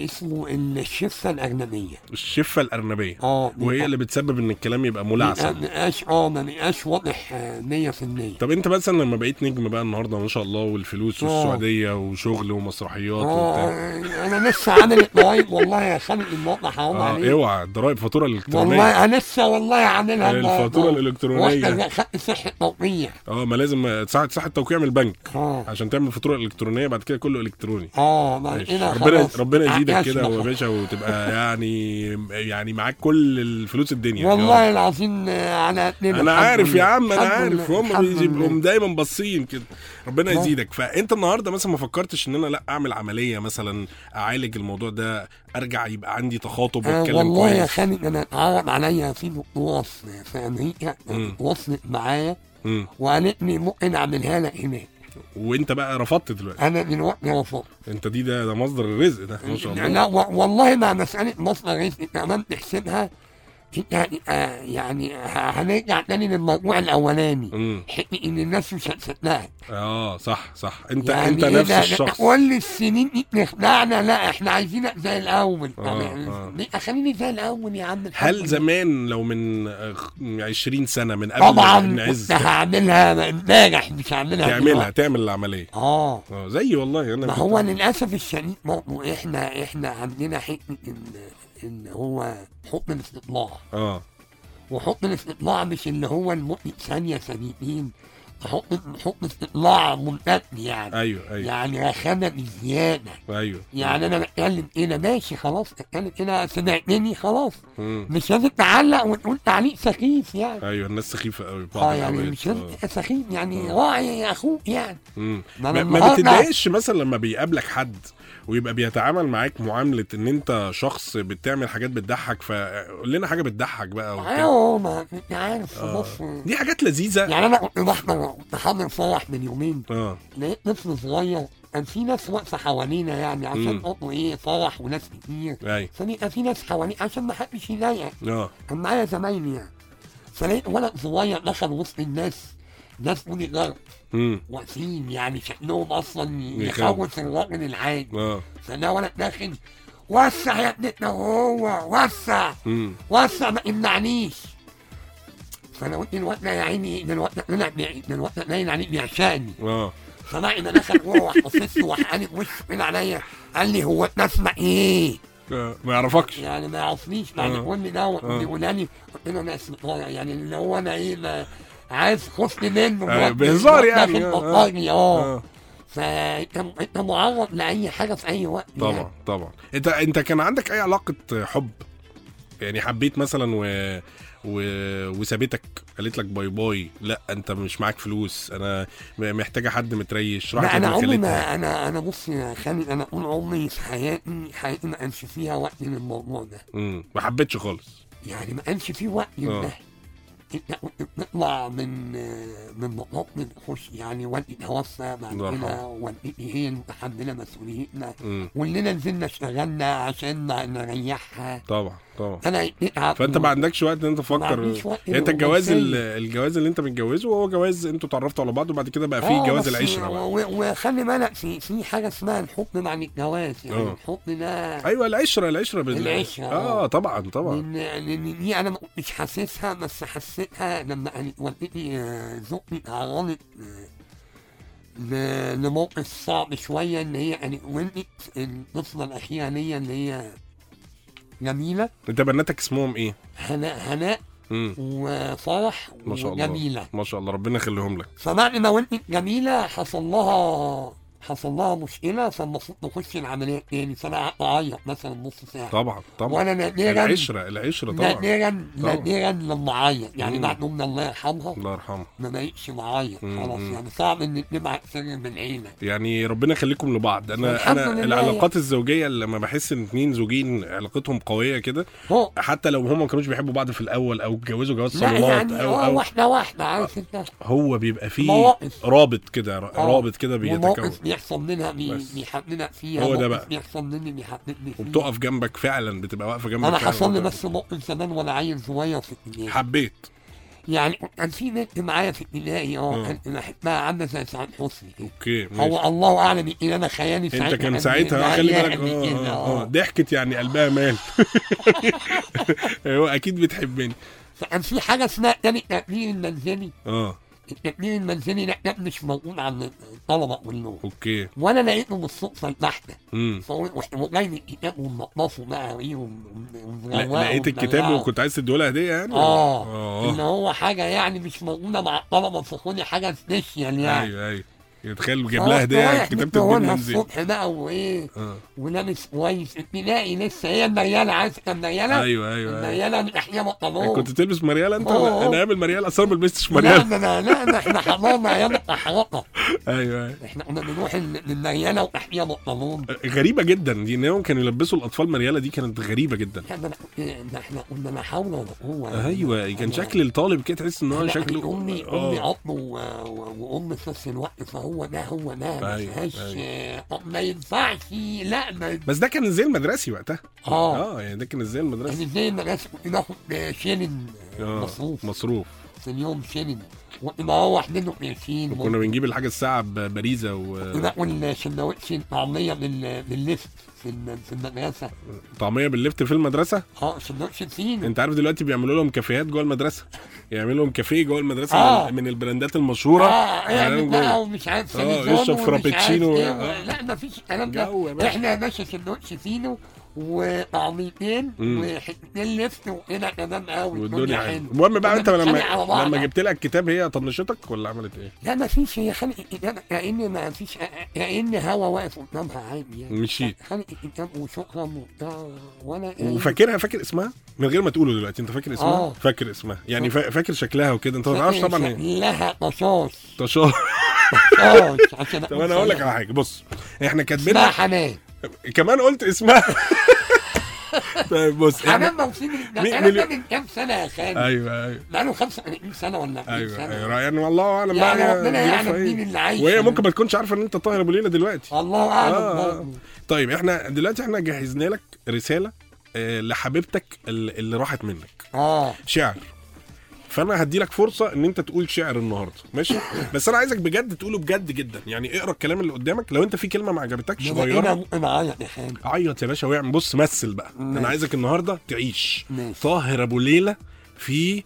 [SPEAKER 3] اسمه الشفه الاجنبيه
[SPEAKER 2] الشفه الارنبيه
[SPEAKER 3] اه دي
[SPEAKER 2] وهي اللي بتسبب ان الكلام يبقى
[SPEAKER 3] ما
[SPEAKER 2] ملعثم
[SPEAKER 3] بقاش اه ما بقاش واضح آه، 100%
[SPEAKER 2] طب انت مثلا لما بقيت نجم بقى النهارده ما شاء الله والفلوس
[SPEAKER 3] اه.
[SPEAKER 2] والسعوديه وشغل ومسرحيات
[SPEAKER 3] اه
[SPEAKER 2] وبتاع
[SPEAKER 3] انا لسه عامل الضرايب والله يا خالد الموضوع حرام
[SPEAKER 2] اه
[SPEAKER 3] عليك
[SPEAKER 2] اوعى الضرايب فاتوره الالكترونيه
[SPEAKER 3] والله انا لسه والله عاملها
[SPEAKER 2] إيه،
[SPEAKER 3] آه،
[SPEAKER 2] الفاتوره الالكترونيه
[SPEAKER 3] واحد خدت صحه توقيع
[SPEAKER 2] اه ما لازم تساعد صحه توقيع من البنك
[SPEAKER 3] اه
[SPEAKER 2] عشان تعمل فاتوره الكترونيه بعد كده كله الكتروني
[SPEAKER 3] اه ما
[SPEAKER 2] ماشي.
[SPEAKER 3] كده
[SPEAKER 2] ربنا
[SPEAKER 3] خلاص. آه،
[SPEAKER 2] ربنا يزيدك
[SPEAKER 3] عكسنا
[SPEAKER 2] كده يا
[SPEAKER 3] خلاص.
[SPEAKER 2] باشا وتبقى يعني يعني معاك كل الفلوس الدنيا يا رب.
[SPEAKER 3] والله العظيم آه، على قدنا
[SPEAKER 2] انا
[SPEAKER 3] الحمد
[SPEAKER 2] عارف يا
[SPEAKER 3] لله.
[SPEAKER 2] عم انا
[SPEAKER 3] الحمد
[SPEAKER 2] عارف
[SPEAKER 3] لله،
[SPEAKER 2] هم
[SPEAKER 3] الحمد
[SPEAKER 2] بيبقوا
[SPEAKER 3] لله.
[SPEAKER 2] دايما باصين كده ربنا
[SPEAKER 3] آه.
[SPEAKER 2] يزيدك فانت النهارده مثلا ما فكرتش ان انا لا اعمل عمليه مثلا اعالج الموضوع ده ارجع يبقى عندي تخاطب
[SPEAKER 3] آه،
[SPEAKER 2] واتكلم
[SPEAKER 3] والله يا
[SPEAKER 2] كويس
[SPEAKER 3] خالد انا اتعرض عليا في دكتوره في في امريكا
[SPEAKER 2] مم.
[SPEAKER 3] وصلت معايا
[SPEAKER 2] مم.
[SPEAKER 3] وقالت لي ممكن اعملها لك هناك
[SPEAKER 2] وانت بقى رفضت دلوقتي
[SPEAKER 3] انا دلوقتي رفضت
[SPEAKER 2] انت دي ده, ده مصدر الرزق ده ما شاء الله
[SPEAKER 3] لا و- والله مع مسألة مصر رزق كمان تحسبها يعني آه يعني ه- هنرجع تاني للموضوع الأولاني
[SPEAKER 2] مم.
[SPEAKER 3] حتة إن الناس مش هتصدقها
[SPEAKER 2] اه صح صح انت
[SPEAKER 3] يعني
[SPEAKER 2] انت
[SPEAKER 3] إيه
[SPEAKER 2] نفس
[SPEAKER 3] ده؟
[SPEAKER 2] الشخص
[SPEAKER 3] كل السنين دي بنخدعنا لا إحنا عايزينك زي الأول طب
[SPEAKER 2] آه،
[SPEAKER 3] يعني
[SPEAKER 2] آه.
[SPEAKER 3] ليه أخليني زي الأول يا عم الحمد
[SPEAKER 2] هل
[SPEAKER 3] لله.
[SPEAKER 2] زمان لو من آه، خ- من 20 سنه من قبل
[SPEAKER 3] طبعا
[SPEAKER 2] ما نعز
[SPEAKER 3] *laughs* كنت هعملها امبارح مش هعملها
[SPEAKER 2] تعملها
[SPEAKER 3] دلوقتي.
[SPEAKER 2] تعمل العمليه
[SPEAKER 3] آه
[SPEAKER 2] اه زي والله انا
[SPEAKER 3] ما
[SPEAKER 2] كنت-
[SPEAKER 3] هو للاسف الشديد برضه احنا احنا عندنا حته ان ان هو حكم الاستطلاع
[SPEAKER 2] اه
[SPEAKER 3] وحكم الاستطلاع مش اللي هو المؤمن ثانية ثانيتين حكم حكم استطلاع ممتد يعني
[SPEAKER 2] ايوه ايوه
[SPEAKER 3] يعني رخامة بزيادة
[SPEAKER 2] ايوه
[SPEAKER 3] يعني انا بتكلم ايه ده ماشي خلاص اتكلم ايه ده سمعتني خلاص
[SPEAKER 2] مم.
[SPEAKER 3] مش لازم تعلق وتقول تعليق سخيف يعني
[SPEAKER 2] ايوه الناس سخيفه قوي بعض
[SPEAKER 3] اه يعني
[SPEAKER 2] الأوقات.
[SPEAKER 3] مش لازم
[SPEAKER 2] آه.
[SPEAKER 3] تبقى سخيف يعني راعي يا اخوك يعني
[SPEAKER 2] مم.
[SPEAKER 3] ما آه،
[SPEAKER 2] ما,
[SPEAKER 3] أنا
[SPEAKER 2] ما
[SPEAKER 3] النهاردة-
[SPEAKER 2] بتتضايقش مثلا لما بيقابلك حد ويبقى بيتعامل معاك معامله ان انت شخص بتعمل حاجات بتضحك فقول لنا حاجه بتضحك بقى وبتاع.
[SPEAKER 3] ايوه ما انت عارف في
[SPEAKER 2] آه.
[SPEAKER 3] مصر
[SPEAKER 2] دي حاجات لذيذه
[SPEAKER 3] يعني انا كنت بحضر كنت حاضر فرح من يومين
[SPEAKER 2] اه
[SPEAKER 3] لقيت طفل صغير كان في ناس واقفه حوالينا يعني
[SPEAKER 2] مم.
[SPEAKER 3] عشان برضه ايه فرح وناس كتير
[SPEAKER 2] ايوه
[SPEAKER 3] فبيبقى في ناس حوالي عشان ما حدش يضايقك
[SPEAKER 2] اه
[SPEAKER 3] كان معايا زمايلي يعني فلقيت ولد صغير دخل وسط الناس ناس بولي جارد
[SPEAKER 2] مم.
[SPEAKER 3] واقفين يعني شكلهم اصلا
[SPEAKER 2] يخوف.
[SPEAKER 3] يخوف الراجل العادي
[SPEAKER 2] اه
[SPEAKER 3] فده ولد داخل وسع يا ابننا وهو وسع
[SPEAKER 2] مم.
[SPEAKER 3] وسع ما يمنعنيش فانا قلت الواد ده يا عيني ده الواد ده طلع بي- ده الواد ده باين عليه بيعشقني
[SPEAKER 2] اه
[SPEAKER 3] سمعي ده دخل جوه واحد باصص له وراح قال وش من عليا قال لي هو أنت اسمع ايه؟
[SPEAKER 2] آه. ما يعرفكش
[SPEAKER 3] يعني ما يعرفنيش بعد
[SPEAKER 2] آه.
[SPEAKER 3] كل ده
[SPEAKER 2] آه.
[SPEAKER 3] بيقولاني قلت له انا اسمي طارق يعني اللي هو انا ايه ما عايز خفني منه
[SPEAKER 2] آه،
[SPEAKER 3] الواد-
[SPEAKER 2] بهزار
[SPEAKER 3] الواد
[SPEAKER 2] يعني،
[SPEAKER 3] داخل
[SPEAKER 2] آه، آه.
[SPEAKER 3] بطاري اه
[SPEAKER 2] اه
[SPEAKER 3] فانت انت معرض لاي حاجه في اي وقت يعني.
[SPEAKER 2] طبعا طبعا انت انت كان عندك اي علاقه حب يعني حبيت مثلا و... و... وسابتك قالت لك باي باي لا انت مش معاك فلوس انا م- محتاجه حد متريش راحت
[SPEAKER 3] لا انا
[SPEAKER 2] لابن
[SPEAKER 3] عمري
[SPEAKER 2] خالتها.
[SPEAKER 3] ما انا انا بص يا خالد انا طول عمري في حياتي حياتي ما كانش فيها وقت للموضوع ده
[SPEAKER 2] مم. ما حبيتش خالص
[SPEAKER 3] يعني ما كانش فيه وقت
[SPEAKER 2] آه.
[SPEAKER 3] لده انت كنت بتطلع من من مطلق من خش يعني والدي توفى بعد
[SPEAKER 2] الله
[SPEAKER 3] كده
[SPEAKER 2] يرحمه.
[SPEAKER 3] والدتي هي المتحمله مسؤوليتنا
[SPEAKER 2] مم.
[SPEAKER 3] كلنا نزلنا اشتغلنا عشان ن- نريحها
[SPEAKER 2] طبعا طبعا
[SPEAKER 3] انا اتعب
[SPEAKER 2] فانت ما عندكش وقت ان انت تفكر
[SPEAKER 3] عنديش وقت
[SPEAKER 2] يعني انت الجواز ال-
[SPEAKER 3] للرومانسية.
[SPEAKER 2] الجواز اللي انت متجوزه هو جواز انتوا اتعرفتوا على بعض وبعد كده بقى
[SPEAKER 3] آه،
[SPEAKER 2] في جواز العشره بقى.
[SPEAKER 3] وخلي بالك في في حاجه اسمها الحكم مع الجواز يعني
[SPEAKER 2] آه.
[SPEAKER 3] الحكم ده
[SPEAKER 2] ايوه العشره العشره بال...
[SPEAKER 3] العشرة،
[SPEAKER 2] اه
[SPEAKER 3] آه.
[SPEAKER 2] طبعا طبعا
[SPEAKER 3] لان لان دي انا ما كنتش حاسسها بس حسيتها لما كانت والدتي آه، زوجتي تعرضت آه، ل- لموقف صعب شويه ان هي يعني كانت ولدت الطفله الاخيره ليا اللي هي جميله
[SPEAKER 2] انت بناتك اسمهم ايه؟
[SPEAKER 3] هناء هناء
[SPEAKER 2] مم.
[SPEAKER 3] وفرح
[SPEAKER 2] ما شاء الله
[SPEAKER 3] وجميله
[SPEAKER 2] ما شاء الله ربنا يخليهم لك
[SPEAKER 3] فبعد ما ولدت جميله حصل لها حصل لها مشكله فالمفروض نخش العمليه تاني فانا قعدت اعيط مثلا نص ساعه
[SPEAKER 2] طبعا طبعا
[SPEAKER 3] وانا نادرا
[SPEAKER 2] العشره العشره طبعا
[SPEAKER 3] نادرا
[SPEAKER 2] طبعا.
[SPEAKER 3] نادرا لما اعيط يعني
[SPEAKER 2] مم.
[SPEAKER 3] بعد امي الله يرحمها
[SPEAKER 2] الله يرحمه
[SPEAKER 3] ما بقتش بعيط
[SPEAKER 2] مم.
[SPEAKER 3] خلاص يعني صعب ان تبعت سر من عينك
[SPEAKER 2] يعني ربنا يخليكم لبعض انا
[SPEAKER 3] الحمد
[SPEAKER 2] انا
[SPEAKER 3] لله.
[SPEAKER 2] العلاقات الزوجيه اللي لما بحس ان اتنين زوجين علاقتهم قويه كده
[SPEAKER 3] هو
[SPEAKER 2] حتى لو هم ما كانوش بيحبوا بعض في الاول او اتجوزوا جواز
[SPEAKER 3] لا
[SPEAKER 2] صالونات
[SPEAKER 3] يعني
[SPEAKER 2] او
[SPEAKER 3] اه
[SPEAKER 2] او
[SPEAKER 3] واحده واحده عارف آه. انت
[SPEAKER 2] هو بيبقى فيه
[SPEAKER 3] مواقف.
[SPEAKER 2] رابط كده
[SPEAKER 3] اه.
[SPEAKER 2] رابط كده بيتكون
[SPEAKER 3] وموقف بيحصل منها بي-
[SPEAKER 2] بس.
[SPEAKER 3] بيحببنا فيها
[SPEAKER 2] هو ده
[SPEAKER 3] موقف
[SPEAKER 2] بقى.
[SPEAKER 3] بيحصل مني بيحببني فيه
[SPEAKER 2] وبتقف جنبك فعلا بتبقى واقفه جنبك
[SPEAKER 3] انا
[SPEAKER 2] فعلاً.
[SPEAKER 3] حصل لي بس موقف زمان وانا عيل صغير في الدنيا
[SPEAKER 2] حبيت
[SPEAKER 3] يعني كان في بنت معايا في ابتدائي اه
[SPEAKER 2] آه.
[SPEAKER 3] كان بحبها عامله زي سعاد حسني كده
[SPEAKER 2] اوكي ماشي.
[SPEAKER 3] هو الله اعلم ايه اللي انا خيالي
[SPEAKER 2] انت
[SPEAKER 3] ساعتها
[SPEAKER 2] كان
[SPEAKER 3] قد
[SPEAKER 2] ساعتها
[SPEAKER 3] إيه،
[SPEAKER 2] آه، خلي
[SPEAKER 3] هي
[SPEAKER 2] بالك
[SPEAKER 3] قد إيه
[SPEAKER 2] اه
[SPEAKER 3] كده،
[SPEAKER 2] اه آه،
[SPEAKER 3] اه
[SPEAKER 2] ضحكت يعني قلبها مال *laughs* هو اكيد بتحبني
[SPEAKER 3] فكان في حاجه اسمها تاني التأمين المنزلي
[SPEAKER 2] اه
[SPEAKER 3] التأمين المنزلي ده كان مش موجود عند الطلبه كلهم
[SPEAKER 2] اوكي
[SPEAKER 3] وانا لقيته بالصدفه البحته
[SPEAKER 2] امم
[SPEAKER 3] فقلت رحت جايب الكتاب ومنقصه بقى ايه وم- وم-
[SPEAKER 2] لقيت الكتاب
[SPEAKER 3] يعني ومدلعه.
[SPEAKER 2] وكنت عايز تديهولها هديه يعني
[SPEAKER 3] اه ان
[SPEAKER 2] اه
[SPEAKER 3] هو حاجه يعني مش موجوده مع الطلبه فخدي حاجه سبيشال يعني
[SPEAKER 2] ايوه ايوه تخيل جاب لها هديه كتاب تديه
[SPEAKER 3] تدوينها
[SPEAKER 2] منزل
[SPEAKER 3] الصبح بقى وايه
[SPEAKER 2] اه
[SPEAKER 3] ولابس كويس تلاقي لسه هي المرياله عارفه المرياله
[SPEAKER 2] ايوه ايوه, أيوة.
[SPEAKER 3] المرياله الاحياء بطلون
[SPEAKER 2] كنت تلبس مريالة انت
[SPEAKER 3] اه،
[SPEAKER 2] ولا-
[SPEAKER 3] اه.
[SPEAKER 2] انا قابل مريالة اصلا ما لبستش
[SPEAKER 3] لا
[SPEAKER 2] مريالة
[SPEAKER 3] لا لا لا ده احنا حضرنا ايام التحرقه
[SPEAKER 2] ايوه ايوه
[SPEAKER 3] احنا كنا بنروح ال- للمرياله واحياء بطلون
[SPEAKER 2] غريبه جدا دي انهم كانوا يلبسوا الاطفال مريالة دي كانت غريبه جدا
[SPEAKER 3] احنا ده احنا- احنا كنا لا حول ولا قوه
[SPEAKER 2] ايوه كان شكل الطالب كده تحس ان هو
[SPEAKER 3] يعني لا،
[SPEAKER 2] شكله
[SPEAKER 3] امي امي
[SPEAKER 2] اه
[SPEAKER 3] اب و- و- وام في نفس الوقت فهو ده هو ده ما
[SPEAKER 2] أيوة،
[SPEAKER 3] فيهاش
[SPEAKER 2] أيوة.
[SPEAKER 3] آه، ما ينفعش لا ما ينفعش.
[SPEAKER 2] بس ده كان الزي المدرسي وقتها
[SPEAKER 3] اه
[SPEAKER 2] اه يعني ده كان الزي المدرسي
[SPEAKER 3] يعني زي ما الناس كنت باخد آه، شيلن آه،
[SPEAKER 2] اه
[SPEAKER 3] مصروف
[SPEAKER 2] مصروف
[SPEAKER 3] في اليوم شيلن كنت بروح منه قرشين
[SPEAKER 2] وكنا بنجيب الحاجه الساعه ببريزه و-
[SPEAKER 3] باكل سندوتش طعميه بال- باللفت في الم- في المدرسه
[SPEAKER 2] طعميه باللفت في المدرسه
[SPEAKER 3] اه سندوتش فين
[SPEAKER 2] انت عارف دلوقتي بيعملوا لهم كافيهات جوه المدرسه يعملوا لهم كافيه جوه المدرسه
[SPEAKER 3] آه.
[SPEAKER 2] من- من البراندات يعني المشهوره
[SPEAKER 3] اه
[SPEAKER 2] يعملوا
[SPEAKER 3] اعمل بقى
[SPEAKER 2] جوه.
[SPEAKER 3] ومش عارف
[SPEAKER 2] اه،
[SPEAKER 3] سميزون
[SPEAKER 2] يشرب
[SPEAKER 3] ومش
[SPEAKER 2] فرابتشينو.
[SPEAKER 3] عارف ايه.
[SPEAKER 2] اه.
[SPEAKER 3] لا مفيش الكلام
[SPEAKER 2] جو يا
[SPEAKER 3] ده
[SPEAKER 2] باشا.
[SPEAKER 3] احنا يا باشا سندوتش فينو وطعميتين
[SPEAKER 2] مم.
[SPEAKER 3] وحتتين لفت وهنا آه، تمام قوي
[SPEAKER 2] والدنيا حلوه
[SPEAKER 3] حلوه
[SPEAKER 2] المهم بقى
[SPEAKER 3] كنا
[SPEAKER 2] انت لما
[SPEAKER 3] بنتخانق على بعض.
[SPEAKER 2] لما جبت لها الكتاب هي طنشتك ولا عملت ايه؟
[SPEAKER 3] لا مفيش هي خانقة الكتاب كأن ما فيش كأن هوا واقف قدامها عادي يعني
[SPEAKER 2] مشيت.
[SPEAKER 3] خانقة الكتاب وشكرا وبتاع ولا
[SPEAKER 2] وفاكرها فاكر اسمها؟ من غير ما تقوله دلوقتي انت فاكر اسمها؟
[SPEAKER 3] اه.
[SPEAKER 2] فاكر اسمها يعني فا- فاكر شكلها وكده انت ما تعرفش إيه. طبعا هي
[SPEAKER 3] لها قصاص
[SPEAKER 2] تشار
[SPEAKER 3] قصاص
[SPEAKER 2] *laughs*
[SPEAKER 3] عشان
[SPEAKER 2] طب انا اقول لك على حاجه بص احنا
[SPEAKER 3] اسمها
[SPEAKER 2] كاتبين
[SPEAKER 3] حنان
[SPEAKER 2] كمان قلت اسمها *laughs* طيب بص احنا
[SPEAKER 3] حنان موسيقي ده
[SPEAKER 2] مي-
[SPEAKER 3] الكلام ده
[SPEAKER 2] مليون-
[SPEAKER 3] من كام سنة يا خالد
[SPEAKER 2] ايوه ايوه
[SPEAKER 3] بقاله 35 سنة ولا 40
[SPEAKER 2] ايوه
[SPEAKER 3] سنة
[SPEAKER 2] ايوه يعني والله اعلم
[SPEAKER 3] يعني
[SPEAKER 2] بقى
[SPEAKER 3] ربنا
[SPEAKER 2] ظروفها
[SPEAKER 3] يعلم
[SPEAKER 2] ايه.
[SPEAKER 3] مين اللي عايش
[SPEAKER 2] وهي ممكن ما تكونش عارفه ان انت طاهر ابو ليلى دلوقتي
[SPEAKER 3] الله
[SPEAKER 2] آه،
[SPEAKER 3] اعلم
[SPEAKER 2] آه.
[SPEAKER 3] برضه.
[SPEAKER 2] طيب احنا دلوقتي احنا جهزنا لك رساله آه، لحبيبتك ال- اللي راحت منك
[SPEAKER 3] اه
[SPEAKER 2] شعر فانا هدي لك فرصه ان انت تقول شعر النهارده ماشي
[SPEAKER 3] *laughs*
[SPEAKER 2] بس انا عايزك بجد تقوله بجد جدا يعني اقرا الكلام اللي قدامك لو انت في كلمه ما عجبتكش
[SPEAKER 3] إيه ده انا
[SPEAKER 2] غيرها
[SPEAKER 3] ممكن اعيط يا خالد
[SPEAKER 2] عيط يا باشا واعمل بص مثل بقى انا
[SPEAKER 3] ماشي.
[SPEAKER 2] عايزك النهارده تعيش
[SPEAKER 3] ماشي.
[SPEAKER 2] طاهر ابو ليلى في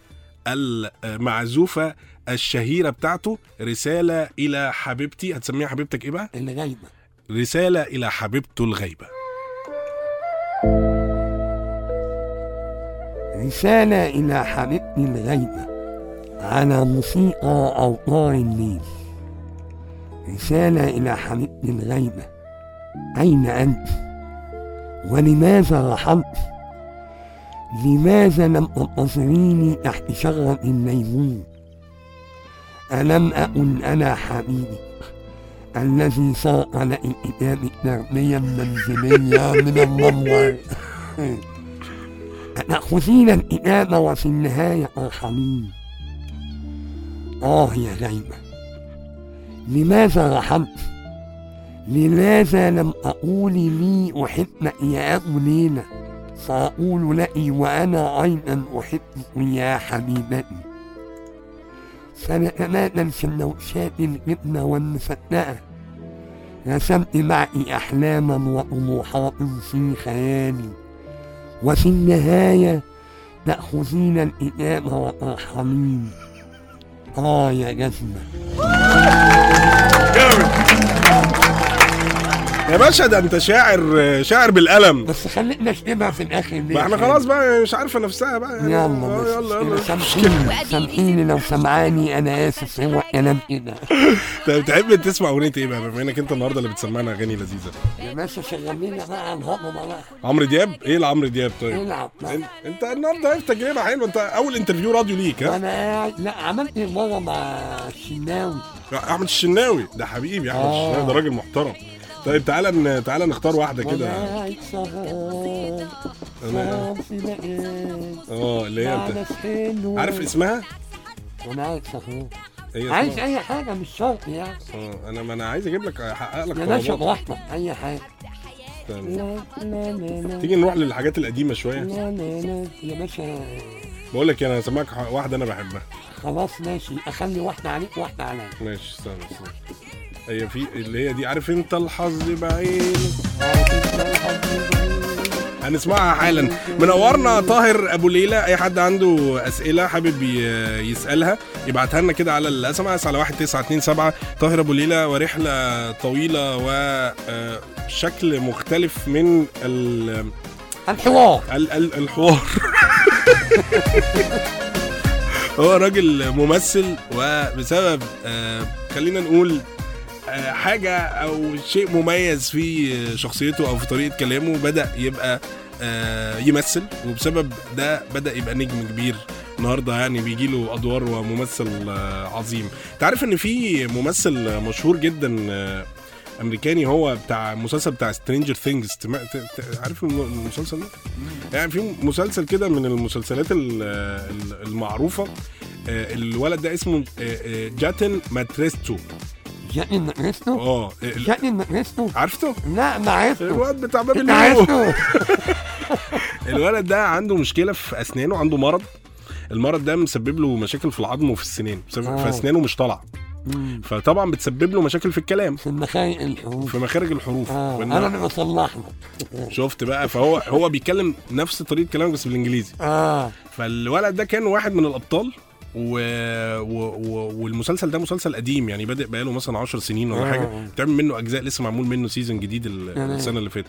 [SPEAKER 2] المعزوفه الشهيره بتاعته رساله الى حبيبتي هتسميها حبيبتك ايه بقى
[SPEAKER 3] اللي جايبه
[SPEAKER 2] رسالة إلى حبيبته الغايبة
[SPEAKER 3] رسالة إلى حبيبتي الغايبة على موسيقى أوتار الليل رسالة إلى حبيبتي الغايبة أين أنت؟ ولماذا رحمت؟ لماذا لم تنتظريني تحت شجرة الليمون؟ ألم أكن أنا حبيبي الذي سرق لك كتابي التربية المنزلية من المنور تأخذين الإنابة وفي النهاية الحميم آه يا غيبة لماذا رحمت؟ لماذا لم أقول لي أحبك يا أبو ليلى سأقول لك وأنا أيضا أحبك يا حبيبتي سنتنادى السندوتشات الجبنة والمفتقة رسمت معك أحلاما وطموحات في خيالي وفي النهاية تأخذين الإنابة وترحمين آه يا جزمة
[SPEAKER 2] يا باشا ده انت شاعر شاعر بالقلم
[SPEAKER 3] بس خلينا نجيبها في الاخر ليه؟
[SPEAKER 2] ما احنا خلاص بقى مش عارفه نفسها بقى يعني.
[SPEAKER 3] طيب، يلا
[SPEAKER 2] آه،
[SPEAKER 3] ماشي.
[SPEAKER 2] يلا يلا
[SPEAKER 3] سامحيني سامحيني لو سمعاني انا اسف هو كلام كده
[SPEAKER 2] طب تحب تسمع اغنيه ايه بقى بما انك انت النهارده اللي بتسمعنا اغاني لذيذه
[SPEAKER 3] يا باشا شغلينا بقى عن هضمه بقى
[SPEAKER 2] عمرو دياب ايه لعمرو دياب طيب
[SPEAKER 3] العب
[SPEAKER 2] انت- انت النهارده عرفت تجربه حلوه انت اول انترفيو راديو ليك ها
[SPEAKER 3] وانا قاعد لا عملت مره مع شناوي
[SPEAKER 2] إيه احمد الشناوي ده حبيبي احمد
[SPEAKER 3] آه.
[SPEAKER 2] الشناوي ده راجل محترم طيب تعالى ن- تعالى نختار واحده
[SPEAKER 3] وانا
[SPEAKER 2] كده
[SPEAKER 3] قاعد سهران
[SPEAKER 2] أنا-
[SPEAKER 3] سهران في بقيت
[SPEAKER 2] اه اللي هي انت عارف اسمها
[SPEAKER 3] وانا قاعد سهران
[SPEAKER 2] هي
[SPEAKER 3] عايز
[SPEAKER 2] اسمها
[SPEAKER 3] اي حاجه مش شرط يعني
[SPEAKER 2] اه انا ما انا عايز اجيب لك احقق لك
[SPEAKER 3] يا باشا
[SPEAKER 2] طلبات.
[SPEAKER 3] براحتك اي حاجه
[SPEAKER 2] تمام.
[SPEAKER 3] لا، لا، لا، لا.
[SPEAKER 2] تيجي نروح للحاجات القديمه شويه
[SPEAKER 3] لا، لا، لا. يا باشا
[SPEAKER 2] بقول لك انا هسمعك ح- واحده انا بحبها
[SPEAKER 3] خلاص ماشي اخلي واحده عليك واحده عليا
[SPEAKER 2] ماشي استنى استنى هي في اللي هي دي عارف انت الحظ بعينه هنسمعها حالا منورنا طاهر ابو ليلى اي حد عنده اسئله حابب ي- يسالها يبعتها لنا كده على الاس ام اس على 1927 طاهر ابو ليلى ورحله طويله وشكل آه، مختلف من ال-
[SPEAKER 3] الحوار
[SPEAKER 2] ال- ال- الحوار *laughs* هو راجل ممثل وبسبب آه، خلينا نقول آه، حاجة أو شيء مميز في شخصيته أو في طريقة كلامه بدأ يبقى آه، يمثل وبسبب ده بدأ يبقى نجم كبير النهارده يعني بيجي له ادوار وممثل آه، عظيم تعرف ان في ممثل مشهور جدا آه، امريكاني هو بتاع مسلسل بتاع سترينجر ثينجز عارف الم- المسلسل ده يعني في مسلسل كده من المسلسلات ال- ال- المعروفه آه، الولد ده اسمه آه، آه، جاتن ماتريستو
[SPEAKER 3] جاتني مقرسته
[SPEAKER 2] اه آه، ال-
[SPEAKER 3] جاتني مقرسته
[SPEAKER 2] عرفته
[SPEAKER 3] لا ما عرفته
[SPEAKER 2] الولد بتاع باب
[SPEAKER 3] انت
[SPEAKER 2] الهول.
[SPEAKER 3] عرفته
[SPEAKER 2] الولد ده عنده مشكله في اسنانه عنده مرض المرض ده مسبب له مشاكل في العظم وفي السنان مسبب-
[SPEAKER 3] آه.
[SPEAKER 2] فاسنانه مش طالعه
[SPEAKER 3] مم.
[SPEAKER 2] فطبعا بتسبب له مشاكل في الكلام
[SPEAKER 3] في المخايق الحروف
[SPEAKER 2] في مخارج الحروف
[SPEAKER 3] اه
[SPEAKER 2] والن-
[SPEAKER 3] انا اللي بصلح له
[SPEAKER 2] شفت بقى فهو هو بيتكلم نفس طريقه كلامك بس بالانجليزي
[SPEAKER 3] اه
[SPEAKER 2] فالولد ده كان واحد من الابطال و... و... و... والمسلسل ده مسلسل قديم يعني بادئ بقاله مثلا 10 سنين ولا
[SPEAKER 3] آه. يعني إيه؟
[SPEAKER 2] حاجه بتعمل منه اجزاء لسه معمول منه سيزون جديد ال-
[SPEAKER 3] تمام.
[SPEAKER 2] السنه اللي فاتت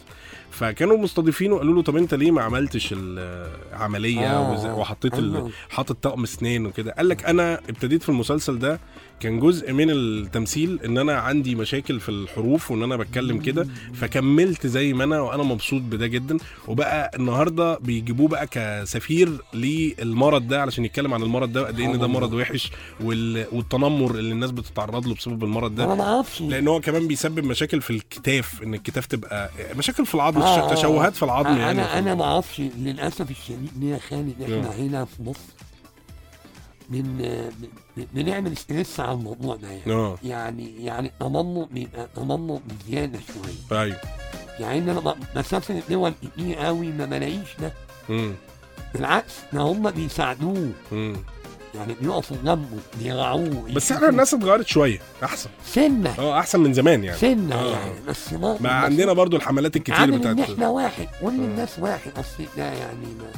[SPEAKER 2] فكانوا مستضيفينه قالوا له طب انت ليه ما عملتش العمليه
[SPEAKER 3] آه.
[SPEAKER 2] وز- وحطيت
[SPEAKER 3] أيوه.
[SPEAKER 2] ال... حاطط طقم اسنان وكده قال لك انا ابتديت في المسلسل ده كان جزء من التمثيل ان انا عندي مشاكل في الحروف وان انا بتكلم كده فكملت زي ما انا وانا مبسوط بده جدا وبقى النهارده بيجيبوه بقى كسفير للمرض ده علشان يتكلم عن المرض ده وقد ايه ان ده مرض وحش وال... والتنمر اللي الناس بتتعرض له بسبب المرض ده
[SPEAKER 3] انا ما اعرفش
[SPEAKER 2] لان هو كمان بيسبب مشاكل في الكتاف ان الكتاف تبقى مشاكل في العظم
[SPEAKER 3] آه، آه.
[SPEAKER 2] تشوهات في العظم
[SPEAKER 3] آه،
[SPEAKER 2] يعني
[SPEAKER 3] انا انا ما اعرفش للاسف الشديد يا خالد احنا هنا في مصر من من- بنعمل ستريس على الموضوع ده يعني
[SPEAKER 2] اه
[SPEAKER 3] يعني يعني تنمر بيبقى تنمر بزياده شويه
[SPEAKER 2] ايو
[SPEAKER 3] يعني إن انا ب- بسافر دول كتير قوي ما بلاقيش ده
[SPEAKER 2] مم.
[SPEAKER 3] بالعكس ده هم بيساعدوه
[SPEAKER 2] مم.
[SPEAKER 3] يعني بيقفوا جنبه بيراعوه
[SPEAKER 2] بس احنا الناس اتغيرت شويه احسن
[SPEAKER 3] سنه
[SPEAKER 2] اه احسن من زمان يعني
[SPEAKER 3] سنه
[SPEAKER 2] آه.
[SPEAKER 3] يعني بس ما
[SPEAKER 2] ما عندنا برضو الحملات الكتير
[SPEAKER 3] عامل ان
[SPEAKER 2] بتاعت آه.
[SPEAKER 3] احنا واحد كل الناس واحد اصل ده يعني ما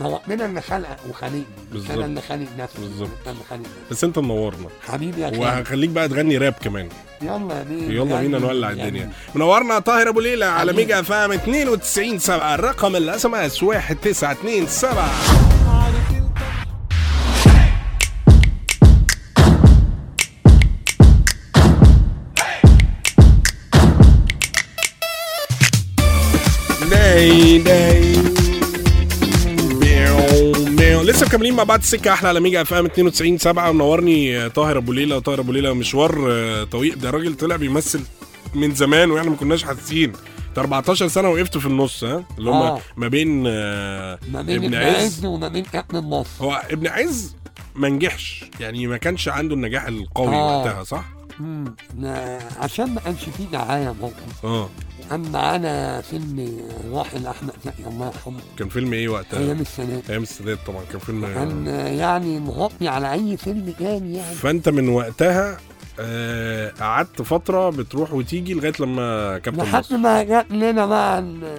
[SPEAKER 3] ما ربنا اللي خلقك وخلقني مش
[SPEAKER 2] بالظبط.
[SPEAKER 3] انا اللي خالق نفسي
[SPEAKER 2] بالظبط.
[SPEAKER 3] انت اللي خالق نفسك
[SPEAKER 2] بس انت منورنا
[SPEAKER 3] حبيبي يا خالد
[SPEAKER 2] وهخليك بقى تغني راب كمان
[SPEAKER 3] يلا يعني بينا
[SPEAKER 2] يلا بينا نولع الدنيا منورنا طاهر ابو ليلى على
[SPEAKER 3] حبيبي.
[SPEAKER 2] ميجا فام 92 7 الرقم الاس ام اس 1927 داي داي بيو بيو. لسه مكملين مع بعض السكه احلى على ميجا اف ام 92 7 منورني آه، طاهر ابو ليلى طاهر ابو ليلى مشوار آه، طويل ده الراجل طلع بيمثل من زمان واحنا ما كناش حاسين ده 14 سنه وقفت في النص ها اللي هم
[SPEAKER 3] آه.
[SPEAKER 2] ما بين آه،
[SPEAKER 3] ما بين
[SPEAKER 2] ابن عز
[SPEAKER 3] وما بين كابتن مصر
[SPEAKER 2] هو ابن عز ما نجحش يعني ما كانش عنده النجاح القوي
[SPEAKER 3] آه.
[SPEAKER 2] وقتها صح؟
[SPEAKER 3] مم. نا- عشان ما كانش فيه دعايه برضه
[SPEAKER 2] اه
[SPEAKER 3] كان معانا فيلم راحل احمد زكي الله يرحمه
[SPEAKER 2] كان فيلم ايه وقتها؟
[SPEAKER 3] ايام السنه
[SPEAKER 2] ايام السادات طبعا كان فيلم
[SPEAKER 3] كان يعني مغطي على اي فيلم تاني يعني
[SPEAKER 2] فانت من وقتها آه، قعدت فتره بتروح وتيجي لغايه لما كابتن
[SPEAKER 3] لحد
[SPEAKER 2] مصر
[SPEAKER 3] ما جات لنا بقى ال-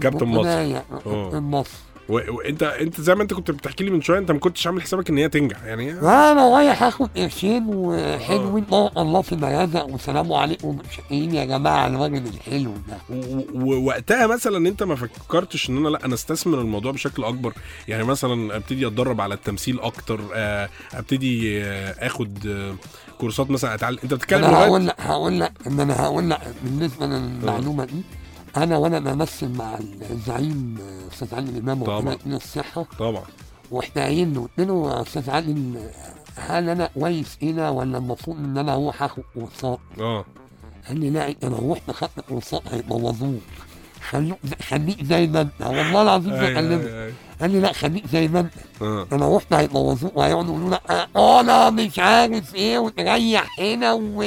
[SPEAKER 2] كابتن مصر
[SPEAKER 3] البناية،
[SPEAKER 2] آه.
[SPEAKER 3] كابتن مصر
[SPEAKER 2] و- وانت انت زي ما انت كنت بتحكي لي من شويه انت ما كنتش عامل حسابك ان هي تنجح يعني
[SPEAKER 3] انا رايح اخد قرشين وحلوين بارك الله في المرازق والسلام عليكم شقيين يا جماعه الراجل الحلو ده
[SPEAKER 2] و- ووقتها مثلا انت ما فكرتش ان انا لا انا استثمر الموضوع بشكل اكبر يعني مثلا ابتدي اتدرب على التمثيل اكتر آه، ابتدي آه، اخد آه، كورسات مثلا اتعلم انت بتتكلم
[SPEAKER 3] انا
[SPEAKER 2] لغايه
[SPEAKER 3] هقول لك هقول لك ان انا هقول لك بالنسبه للمعلومه دي انا وانا بمثل مع الزعيم آه، استاذ علي الامام
[SPEAKER 2] طبعا.
[SPEAKER 3] وكمان الصحه
[SPEAKER 2] طبعا
[SPEAKER 3] واحنا قايلين له قلت له يا استاذ علي آه، هل انا كويس هنا ولا المفروض ان انا اروح اخد كورسات؟
[SPEAKER 2] اه
[SPEAKER 3] قال لي لا انت لو رحت خدت كورسات هيبوظوك خلوك خليك زي ما انت والله العظيم
[SPEAKER 2] أي-
[SPEAKER 3] بكلمك
[SPEAKER 2] أي- أي.
[SPEAKER 3] قال لي لا خليك زي ما انت
[SPEAKER 2] اه
[SPEAKER 3] انا رحت هيبوظوك وهيقعدوا يقولوا آه، لا انا مش عارف ايه وتريح هنا و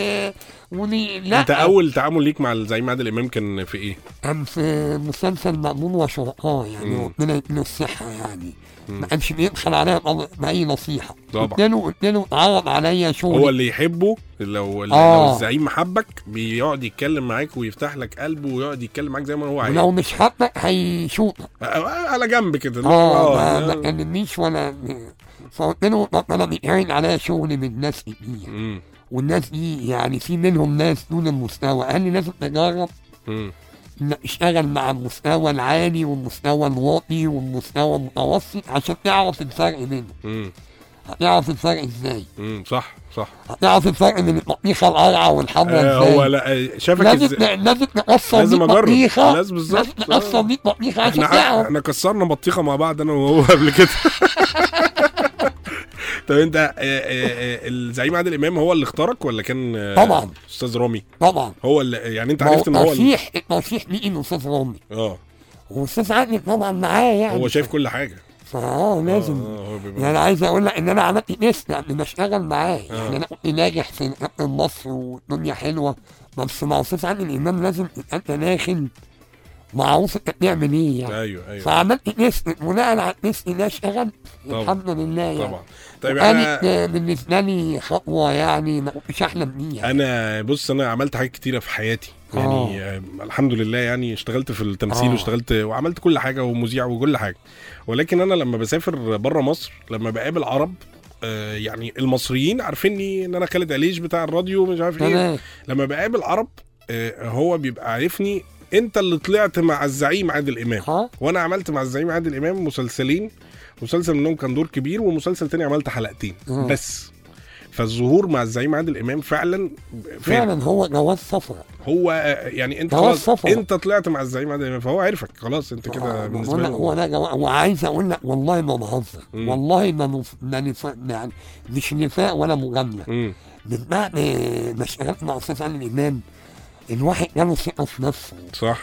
[SPEAKER 3] ولي لا
[SPEAKER 2] انت اول تعامل ليك مع زعيم عادل امام كان في ايه؟
[SPEAKER 3] كان في مسلسل مأمون وشركاه يعني ربنا يديله الصحة يعني ما كانش بيبخل عليا بأ- بأي نصيحة
[SPEAKER 2] طبعا.
[SPEAKER 3] قلت له قلت له اتعرض عليا شغل
[SPEAKER 2] هو اللي يحبه لو لو
[SPEAKER 3] آه.
[SPEAKER 2] الزعيم حبك بيقعد يتكلم معاك ويفتح لك قلبه ويقعد يتكلم معاك زي ما هو عايز
[SPEAKER 3] ولو مش حابك هيشوطك
[SPEAKER 2] آه، آه، على جنب كده
[SPEAKER 3] اه
[SPEAKER 2] آه،
[SPEAKER 3] ما- ما
[SPEAKER 2] آه.
[SPEAKER 3] كلمنيش ولا فقلت له طب انا بيتعرض عليا شغل من ناس كتير
[SPEAKER 2] مم،
[SPEAKER 3] والناس دي يعني في منهم ناس دون المستوى قال لي لازم تجرب
[SPEAKER 2] مم.
[SPEAKER 3] انك اشتغل مع المستوى العالي والمستوى الواطي والمستوى المتوسط عشان تعرف الفرق بينهم
[SPEAKER 2] مم.
[SPEAKER 3] هتعرف الفرق ازاي؟
[SPEAKER 2] مم. صح صح
[SPEAKER 3] هتعرف الفرق بين البطيخه القرعه والحمراء
[SPEAKER 2] آه،
[SPEAKER 3] ازاي؟
[SPEAKER 2] هو لا آه، شافك
[SPEAKER 3] لازم
[SPEAKER 2] ازاي
[SPEAKER 3] ن- لازم نقصر
[SPEAKER 2] لازم
[SPEAKER 3] ليك
[SPEAKER 2] أجرب.
[SPEAKER 3] بطيخه
[SPEAKER 2] لازم بالظبط.
[SPEAKER 3] لازم نقصر ليك بطيخه عشان
[SPEAKER 2] احنا
[SPEAKER 3] تعرف
[SPEAKER 2] احنا كسرنا بطيخه مع بعض انا وهو قبل كده *laughs* طب انت آه، آه، آه، الزعيم عادل امام هو اللي اختارك ولا كان آه،
[SPEAKER 3] طبعا.
[SPEAKER 2] استاذ رامي
[SPEAKER 3] طبعا
[SPEAKER 2] هو اللي يعني انت
[SPEAKER 3] ما هو
[SPEAKER 2] عرفت ان هو اللي-
[SPEAKER 3] التصحيح التصحيح ليه من استاذ رامي
[SPEAKER 2] اه
[SPEAKER 3] والاستاذ عادل طبعا معايا يعني
[SPEAKER 2] هو شايف كل حاجه
[SPEAKER 3] فاه لازم
[SPEAKER 2] آه، هو بيبقى-
[SPEAKER 3] يعني انا عايز اقول لك ان انا عملت تيست قبل ما اشتغل معاه
[SPEAKER 2] آه.
[SPEAKER 3] يعني انا كنت ناجح في كابتن مصر والدنيا حلوه بس مع استاذ عادل امام لازم تبقى انت ناخن معروف انت بتعمل ايه يعني
[SPEAKER 2] ايوه ايوه
[SPEAKER 3] فعملت تيست بناء على التيست ده اشتغلت
[SPEAKER 2] طبعا.
[SPEAKER 3] الحمد لله يعني
[SPEAKER 2] طبعا طيب
[SPEAKER 3] كانت
[SPEAKER 2] انا
[SPEAKER 3] آه، بالنسبه لي خطوه يعني ما كنتش احلم بيها
[SPEAKER 2] انا بص انا عملت حاجات كتيره في حياتي يعني آه. الحمد لله يعني اشتغلت في التمثيل
[SPEAKER 3] آه.
[SPEAKER 2] واشتغلت وعملت كل حاجه ومذيع وكل حاجه ولكن انا لما بسافر بره مصر لما بقابل عرب آه، يعني المصريين عارفيني ان انا خالد عليش بتاع الراديو مش عارف ايه
[SPEAKER 3] تمام
[SPEAKER 2] لما بقابل عرب آه، هو بيبقى عارفني انت اللي طلعت مع الزعيم عادل امام
[SPEAKER 3] اه
[SPEAKER 2] وانا عملت مع الزعيم عادل امام مسلسلين مسلسل منهم كان دور كبير ومسلسل تاني عملت حلقتين
[SPEAKER 3] آه.
[SPEAKER 2] بس فالظهور مع الزعيم عادل امام فعلا فعلا
[SPEAKER 3] فعلا هو جواز سفر
[SPEAKER 2] هو آه، يعني انت
[SPEAKER 3] يعني ده هو
[SPEAKER 2] خلاص
[SPEAKER 3] السفر.
[SPEAKER 2] انت طلعت مع الزعيم عادل امام فهو عرفك خلاص انت كده
[SPEAKER 3] آه،
[SPEAKER 2] بالنسبه
[SPEAKER 3] بقول لك هو
[SPEAKER 2] له
[SPEAKER 3] ده جوا... وعايز اقول لك والله ما بهزر والله ما نف... ما نف... يعني مش نفاق ولا مجامله
[SPEAKER 2] مم.
[SPEAKER 3] من بعد ما اشتغلت مع استاذ عادل امام الواحد جاله ثقه في نفسه
[SPEAKER 2] صح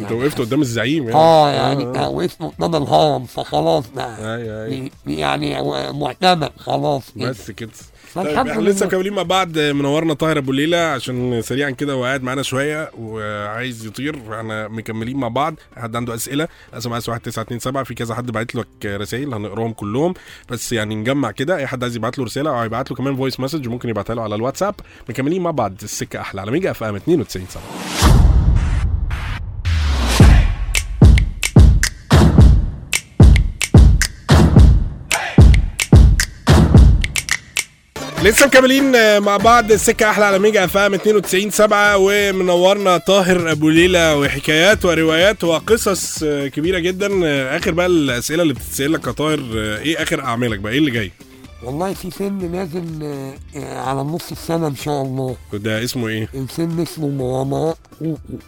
[SPEAKER 2] انت
[SPEAKER 3] يعني
[SPEAKER 2] وقفت قدام الزعيم يعني
[SPEAKER 3] اه يعني
[SPEAKER 2] آه.
[SPEAKER 3] آه. واسمه قدام الهرم فخلاص بقى
[SPEAKER 2] ايوه ايوه
[SPEAKER 3] يعني و- معتمد خلاص كده.
[SPEAKER 2] بس كده طيب
[SPEAKER 3] فالحمد
[SPEAKER 2] احنا لسه
[SPEAKER 3] لله.
[SPEAKER 2] مكملين مع بعض آه، منورنا طاهر ابو ليلى عشان سريعا كده هو قاعد معانا شويه وعايز يطير احنا مكملين مع بعض حد عنده اسئله اس ام اس 1927 في كذا حد بعت لك رسائل هنقراهم كلهم بس يعني نجمع كده اي حد عايز يبعت له رساله او يبعت له كمان فويس مسج ممكن يبعتها له على الواتساب مكملين مع بعض السكه احلى على ميجا اف ام 92 سبعة لسه مكملين آه، مع بعض السكه احلى على ميجا اف ام 92 7 ومنورنا طاهر ابو ليلى وحكايات وروايات وقصص آه، كبيره جدا آه، اخر بقى الاسئله اللي بتتسال لك يا طاهر آه، ايه اخر اعمالك بقى ايه اللي جاي
[SPEAKER 3] والله في فيلم نازل آه، آه، على نص السنه ان شاء الله
[SPEAKER 2] ده اسمه ايه
[SPEAKER 3] الفيلم اسمه مغامرات كوكو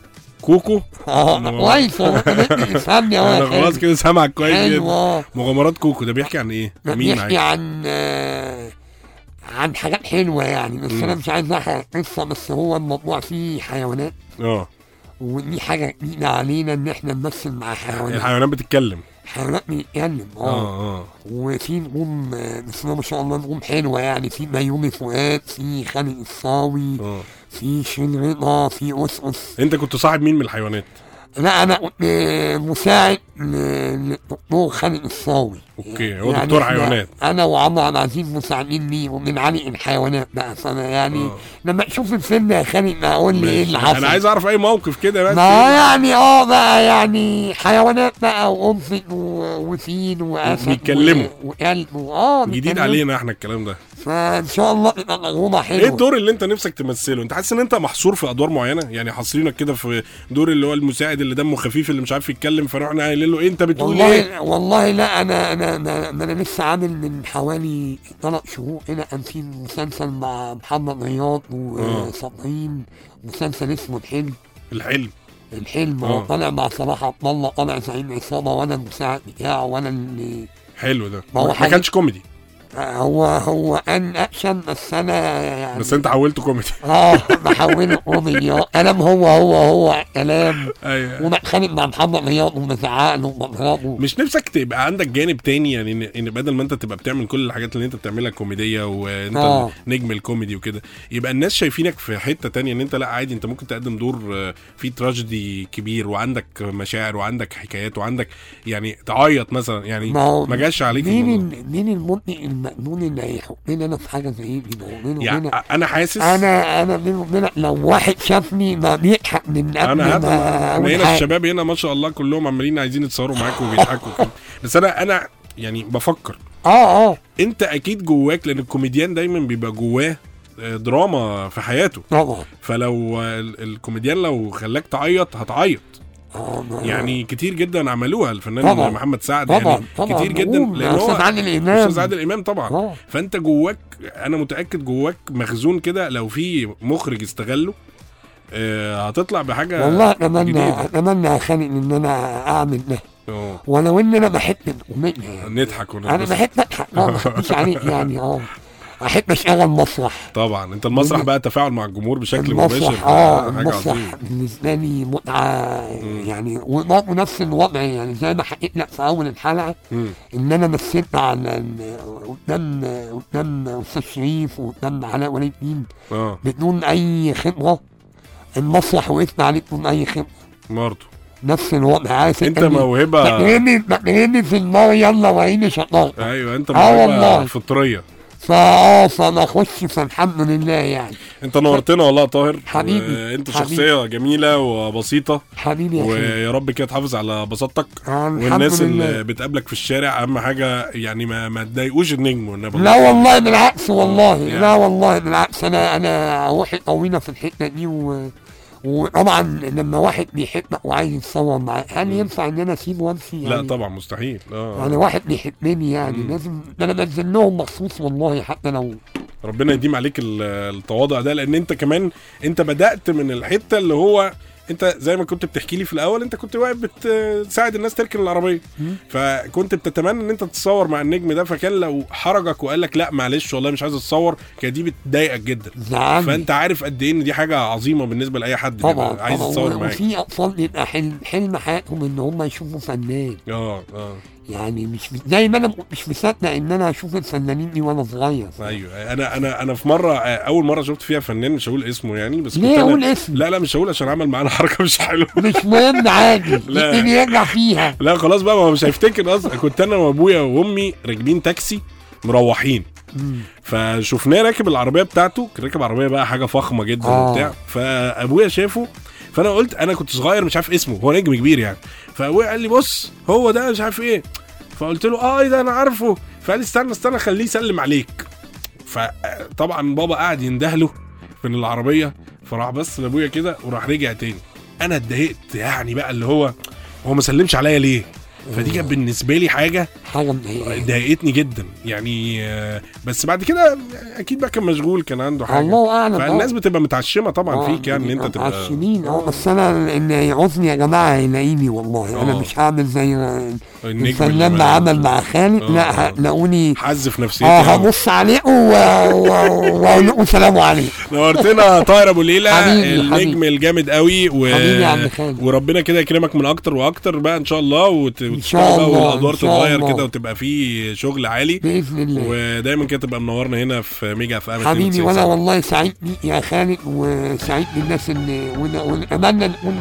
[SPEAKER 2] كوكو
[SPEAKER 3] اه
[SPEAKER 2] مغامرات. *laughs*
[SPEAKER 3] كويس والله انت بتفهمني يا
[SPEAKER 2] انا
[SPEAKER 3] واحد
[SPEAKER 2] خلاص كده سامعك كويس
[SPEAKER 3] حلو
[SPEAKER 2] جدا
[SPEAKER 3] اه
[SPEAKER 2] مغامرات كوكو ده بيحكي عن ايه مين
[SPEAKER 3] بيحكي
[SPEAKER 2] معاك
[SPEAKER 3] نعم، عن آه، عن حاجات حلوه يعني بس انا مش عايز احرق قصه بس هو الموضوع فيه حيوانات
[SPEAKER 2] اه
[SPEAKER 3] ودي حاجه جديده علينا ان احنا نمثل مع حيوانات
[SPEAKER 2] الحيوانات بتتكلم
[SPEAKER 3] حيوانات بيتكلم اه
[SPEAKER 2] اه اه
[SPEAKER 3] وفي نجوم آه، بسم الله ما شاء الله نجوم حلوه يعني في ميومي فؤاد في خالد الصاوي
[SPEAKER 2] اه
[SPEAKER 3] في شين رضا في اسقس
[SPEAKER 2] انت كنت صاحب مين من الحيوانات
[SPEAKER 3] لا انا كنت مساعد ل- للدكتور خالد الصاوي
[SPEAKER 2] أوكي، هو دكتور
[SPEAKER 3] يعني إحنا-
[SPEAKER 2] حيوانات.
[SPEAKER 3] انا وعمر عبد العزيز مساعدين لي ومن علي الحيوانات بقى فانا يعني
[SPEAKER 2] آه.
[SPEAKER 3] لما تشوف الفيلم يا خالد ما اقول لي ايه اللي حصل
[SPEAKER 2] انا عايز إيه؟ اعرف اي موقف كده بس
[SPEAKER 3] ما يعني اه بقى يعني حيوانات بقى وقنفذ و- وفيل واسد
[SPEAKER 2] بيتكلموا.
[SPEAKER 3] و- وكلب اه
[SPEAKER 2] جديد
[SPEAKER 3] بيتكلموا.
[SPEAKER 2] علينا احنا الكلام ده
[SPEAKER 3] فان شاء الله تبقى تجربه حلوه
[SPEAKER 2] ايه الدور اللي انت نفسك تمثله انت حاسس ان انت محصور في ادوار معينه يعني حاصرينك كده في دور اللي هو المساعد اللي دمه خفيف اللي مش عارف يتكلم فروحنا قايلين له إيه انت بتقول ايه
[SPEAKER 3] والله والله لا انا انا انا, أنا لسه عامل من حوالي ثلاث شهور الى 50 مسلسل مع محمد رياض
[SPEAKER 2] آه.
[SPEAKER 3] وصابرين مسلسل اسمه الحلم
[SPEAKER 2] الحلم
[SPEAKER 3] الحلم
[SPEAKER 2] آه.
[SPEAKER 3] هو طالع مع صلاح عبد الله طالع زعيم عصابه وانا المساعد بتاعه وانا اللي
[SPEAKER 2] حلو ده
[SPEAKER 3] ما هو
[SPEAKER 2] ما
[SPEAKER 3] حقيقي.
[SPEAKER 2] كانش كوميدي
[SPEAKER 3] هو هو ان اكشن بس انا يعني
[SPEAKER 2] بس انت حولته كوميدي
[SPEAKER 3] اه بحوله قضية كلام هو هو هو كلام
[SPEAKER 2] ايوه
[SPEAKER 3] وبتخانق مع محمد رياض وبزعق له وبضربه
[SPEAKER 2] مش نفسك تبقى عندك جانب تاني يعني ان, إن بدل ما انت تبقى بتعمل كل الحاجات اللي انت بتعملها كوميديه وانت
[SPEAKER 3] آه.
[SPEAKER 2] نجم الكوميدي وكده يبقى الناس شايفينك في حته تانية ان انت لا عادي انت ممكن تقدم دور آه، فيه تراجيدي كبير وعندك مشاعر وعندك حكايات وعندك يعني تعيط مثلا يعني
[SPEAKER 3] ما هو
[SPEAKER 2] ما جاش عليك
[SPEAKER 3] مين
[SPEAKER 2] الموضوع.
[SPEAKER 3] ال- مين المنطق المأمون اللي هيحطني انا في حاجه زي دي ما هو بيني
[SPEAKER 2] يعني
[SPEAKER 3] وبينك
[SPEAKER 2] انا حاسس
[SPEAKER 3] انا انا بيني وبينك لو واحد شافني ما بيضحك من قبل
[SPEAKER 2] انا هذا انا
[SPEAKER 3] ما أقول
[SPEAKER 2] هنا
[SPEAKER 3] حاجة.
[SPEAKER 2] الشباب هنا ما شاء الله كلهم عمالين عايزين يتصوروا معاك وبيضحكوا وكده. بس انا انا يعني بفكر
[SPEAKER 3] اه اه
[SPEAKER 2] انت اكيد جواك لان الكوميديان دايما بيبقى جواه آه، دراما في حياته
[SPEAKER 3] طبعا
[SPEAKER 2] فلو آه، ال- الكوميديان لو خلاك تعيط هتعيط
[SPEAKER 3] آه، ما-
[SPEAKER 2] يعني كتير جدا عملوها الفنان
[SPEAKER 3] طبعاً.
[SPEAKER 2] محمد سعد
[SPEAKER 3] طبعا
[SPEAKER 2] يعني
[SPEAKER 3] طبعا
[SPEAKER 2] كتير جدا
[SPEAKER 3] نقول
[SPEAKER 2] لان
[SPEAKER 3] استاذ
[SPEAKER 2] هو
[SPEAKER 3] عادل امام
[SPEAKER 2] استاذ عادل امام طبعا
[SPEAKER 3] اه
[SPEAKER 2] فانت جواك انا متاكد جواك مخزون كده لو في مخرج استغله آه، هتطلع بحاجه
[SPEAKER 3] والله اتمنى
[SPEAKER 2] جديدة.
[SPEAKER 3] اتمنى خالد ان انا اعمل ده
[SPEAKER 2] اه
[SPEAKER 3] ولو ان انا بحب الكوميديا يعني.
[SPEAKER 2] نضحك
[SPEAKER 3] انا
[SPEAKER 2] ونتبسط
[SPEAKER 3] بحب اضحك اه ما اخبيش
[SPEAKER 2] *laughs*
[SPEAKER 3] عليك يعني اه احب اشتغل مسرح
[SPEAKER 2] طبعا انت المسرح بقى تفاعل مع الجمهور بشكل مباشر
[SPEAKER 3] المسرح
[SPEAKER 2] ده
[SPEAKER 3] اه
[SPEAKER 2] حاجه
[SPEAKER 3] المسرح
[SPEAKER 2] عظيمه
[SPEAKER 3] بالنسبه لي متعه يعني وبرضه نفس الوضع يعني زي ما حكيت لك في اول الحلقه
[SPEAKER 2] مم.
[SPEAKER 3] ان انا مثلت على ال- قدام قدام استاذ شريف وقدام علاء ولي الدين
[SPEAKER 2] اه
[SPEAKER 3] بدون اي خبره المسرح وقفنا عليه بدون اي خبره
[SPEAKER 2] برضه
[SPEAKER 3] نفس الوضع عارف
[SPEAKER 2] انت موهبه
[SPEAKER 3] بتغني بتغني في النار يلا وعيني شطار
[SPEAKER 2] ايوه انت
[SPEAKER 3] آه
[SPEAKER 2] موهبه
[SPEAKER 3] والله.
[SPEAKER 2] فطريه
[SPEAKER 3] فاه فانا اخش آه، فالحمد لله يعني
[SPEAKER 2] انت نورتنا والله يا طاهر
[SPEAKER 3] حبيبي،
[SPEAKER 2] انت
[SPEAKER 3] حبيبي.
[SPEAKER 2] شخصيه جميله وبسيطه
[SPEAKER 3] حبيبي يا خالد
[SPEAKER 2] ويا رب كده تحافظ على بساطتك
[SPEAKER 3] آه، الحمد
[SPEAKER 2] والناس
[SPEAKER 3] لله.
[SPEAKER 2] اللي بتقابلك في الشارع اهم حاجه يعني ما ما تضايقوش النجم والنبي
[SPEAKER 3] لا والله بالعكس والله
[SPEAKER 2] يعني.
[SPEAKER 3] لا والله بالعكس انا انا روحي طويله في الحته دي و... وطبعا لما واحد بيحبك وعايز يتصور معاه هل ينفع ان انا اسيبه وامشي يعني
[SPEAKER 2] لا طبعا مستحيل اه
[SPEAKER 3] يعني واحد بيحبني يعني لازم ده انا بنزل لهم مخصوص والله حتى لو
[SPEAKER 2] ربنا يديم عليك ال- التواضع ده لان انت كمان انت بدات من الحته اللي هو انت زي ما كنت بتحكي لي في الاول انت كنت واقف بتساعد الناس تركن العربيه فكنت بتتمنى ان انت تتصور مع النجم ده فكان لو حرجك وقال لك لا معلش والله مش عايز اتصور كانت دي بتضايقك جدا
[SPEAKER 3] زعلني
[SPEAKER 2] فانت عارف قد ايه ان دي حاجه عظيمه بالنسبه لاي حد
[SPEAKER 3] طبعا
[SPEAKER 2] بيبقى عايز
[SPEAKER 3] نعم. طبعاً.
[SPEAKER 2] يتصور
[SPEAKER 3] و-
[SPEAKER 2] معاك
[SPEAKER 3] وفي اطفال بيبقى حلم حلم حياتهم ان هم يشوفوا فنان
[SPEAKER 2] اه اه
[SPEAKER 3] يعني مش زي ما انا مش مصدق ان انا اشوف الفنانين دي وانا صغير
[SPEAKER 2] ايوه انا انا انا في مره اول مره شفت فيها فنان مش هقول اسمه يعني بس كنت
[SPEAKER 3] ليه
[SPEAKER 2] أنا-
[SPEAKER 3] اقول اسم
[SPEAKER 2] لا لا مش هقول عشان عمل معانا حركه مش حلوه
[SPEAKER 3] مش مهم عادي
[SPEAKER 2] *laughs*
[SPEAKER 3] الدنيا يرجع فيها
[SPEAKER 2] لا خلاص بقى ما هو مش هيفتكر اصلا كنت انا وابويا وامي راكبين تاكسي مروحين فشفناه راكب العربيه بتاعته كان راكب عربيه بقى حاجه فخمه جدا
[SPEAKER 3] آه.
[SPEAKER 2] وبتاع فابويا شافه فانا قلت انا كنت صغير مش عارف اسمه هو نجم كبير يعني فابويا قال لي بص هو ده مش عارف ايه فقلت له اه إيه ده انا عارفه فقال لي استنى استنى خليه يسلم عليك فطبعا بابا قعد يندهله من العربيه فراح بس لابويا كده وراح رجع تاني انا اتضايقت يعني بقى اللي هو هو ما سلمش عليا ليه فدي كانت بالنسبه لي حاجه
[SPEAKER 3] حاجه
[SPEAKER 2] طيب،
[SPEAKER 3] مضايقاني
[SPEAKER 2] ضايقتني جدا يعني آه، بس بعد كده اكيد بقى كان مشغول كان عنده حاجه
[SPEAKER 3] الله اعلم
[SPEAKER 2] فالناس بتبقى متعشمه طبعا
[SPEAKER 3] آه،
[SPEAKER 2] فيك يعني ان انت تبقى
[SPEAKER 3] عشرين اه بس انا ان يعوزني يا جماعه يلاقيني والله انا
[SPEAKER 2] آه.
[SPEAKER 3] مش هعمل زي
[SPEAKER 2] النجم
[SPEAKER 3] الفنان
[SPEAKER 2] اللي
[SPEAKER 3] ما
[SPEAKER 2] ما-
[SPEAKER 3] عمل مع خالد
[SPEAKER 2] آه، يعني.
[SPEAKER 3] لا
[SPEAKER 2] آه.
[SPEAKER 3] هتلاقوني
[SPEAKER 2] حز في نفسيتي
[SPEAKER 3] اه
[SPEAKER 2] أوي.
[SPEAKER 3] هبص عليكم و- و- واقول لكم
[SPEAKER 2] *laughs*
[SPEAKER 3] سلام عليكم
[SPEAKER 2] نورتنا طاهر ابو ليلى
[SPEAKER 3] حبيبي،
[SPEAKER 2] النجم
[SPEAKER 3] حبيبي.
[SPEAKER 2] الجامد قوي و...
[SPEAKER 3] حبيبي يا عم خالد.
[SPEAKER 2] وربنا كده يكرمك من اكتر واكتر بقى ان شاء الله وت...
[SPEAKER 3] شاء
[SPEAKER 2] بقى
[SPEAKER 3] الله،
[SPEAKER 2] والادوار
[SPEAKER 3] إن شاء
[SPEAKER 2] تتغير
[SPEAKER 3] الله.
[SPEAKER 2] كده وتبقى فيه شغل عالي
[SPEAKER 3] باذن الله
[SPEAKER 2] ودايما كده تبقى منورنا هنا في ميجا اف ام
[SPEAKER 3] حبيبي
[SPEAKER 2] 92.
[SPEAKER 3] وانا والله سعيد بيك يا خالد وسعيد بالناس اللي ون- ونتمنى نكون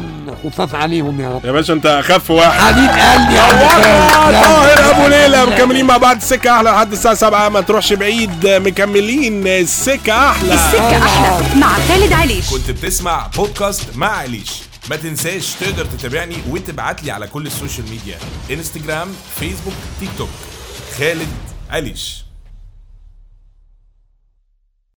[SPEAKER 3] خفاف عليهم يا رب
[SPEAKER 2] يا باشا انت اخف واحد
[SPEAKER 3] حبيب قلبي *laughs* يا عم خالد. يلا.
[SPEAKER 2] طاهر ابو ليلى مكملين مع بعض السكه احلى لحد الساعه 7 ما تروحش بعيد مكملين السكه احلى
[SPEAKER 4] السكة أحلى مع خالد عليش
[SPEAKER 1] كنت بتسمع بودكاست مع عليش ما تنساش تقدر تتابعني وتبعت لي على كل السوشيال ميديا انستجرام فيسبوك تيك توك خالد عليش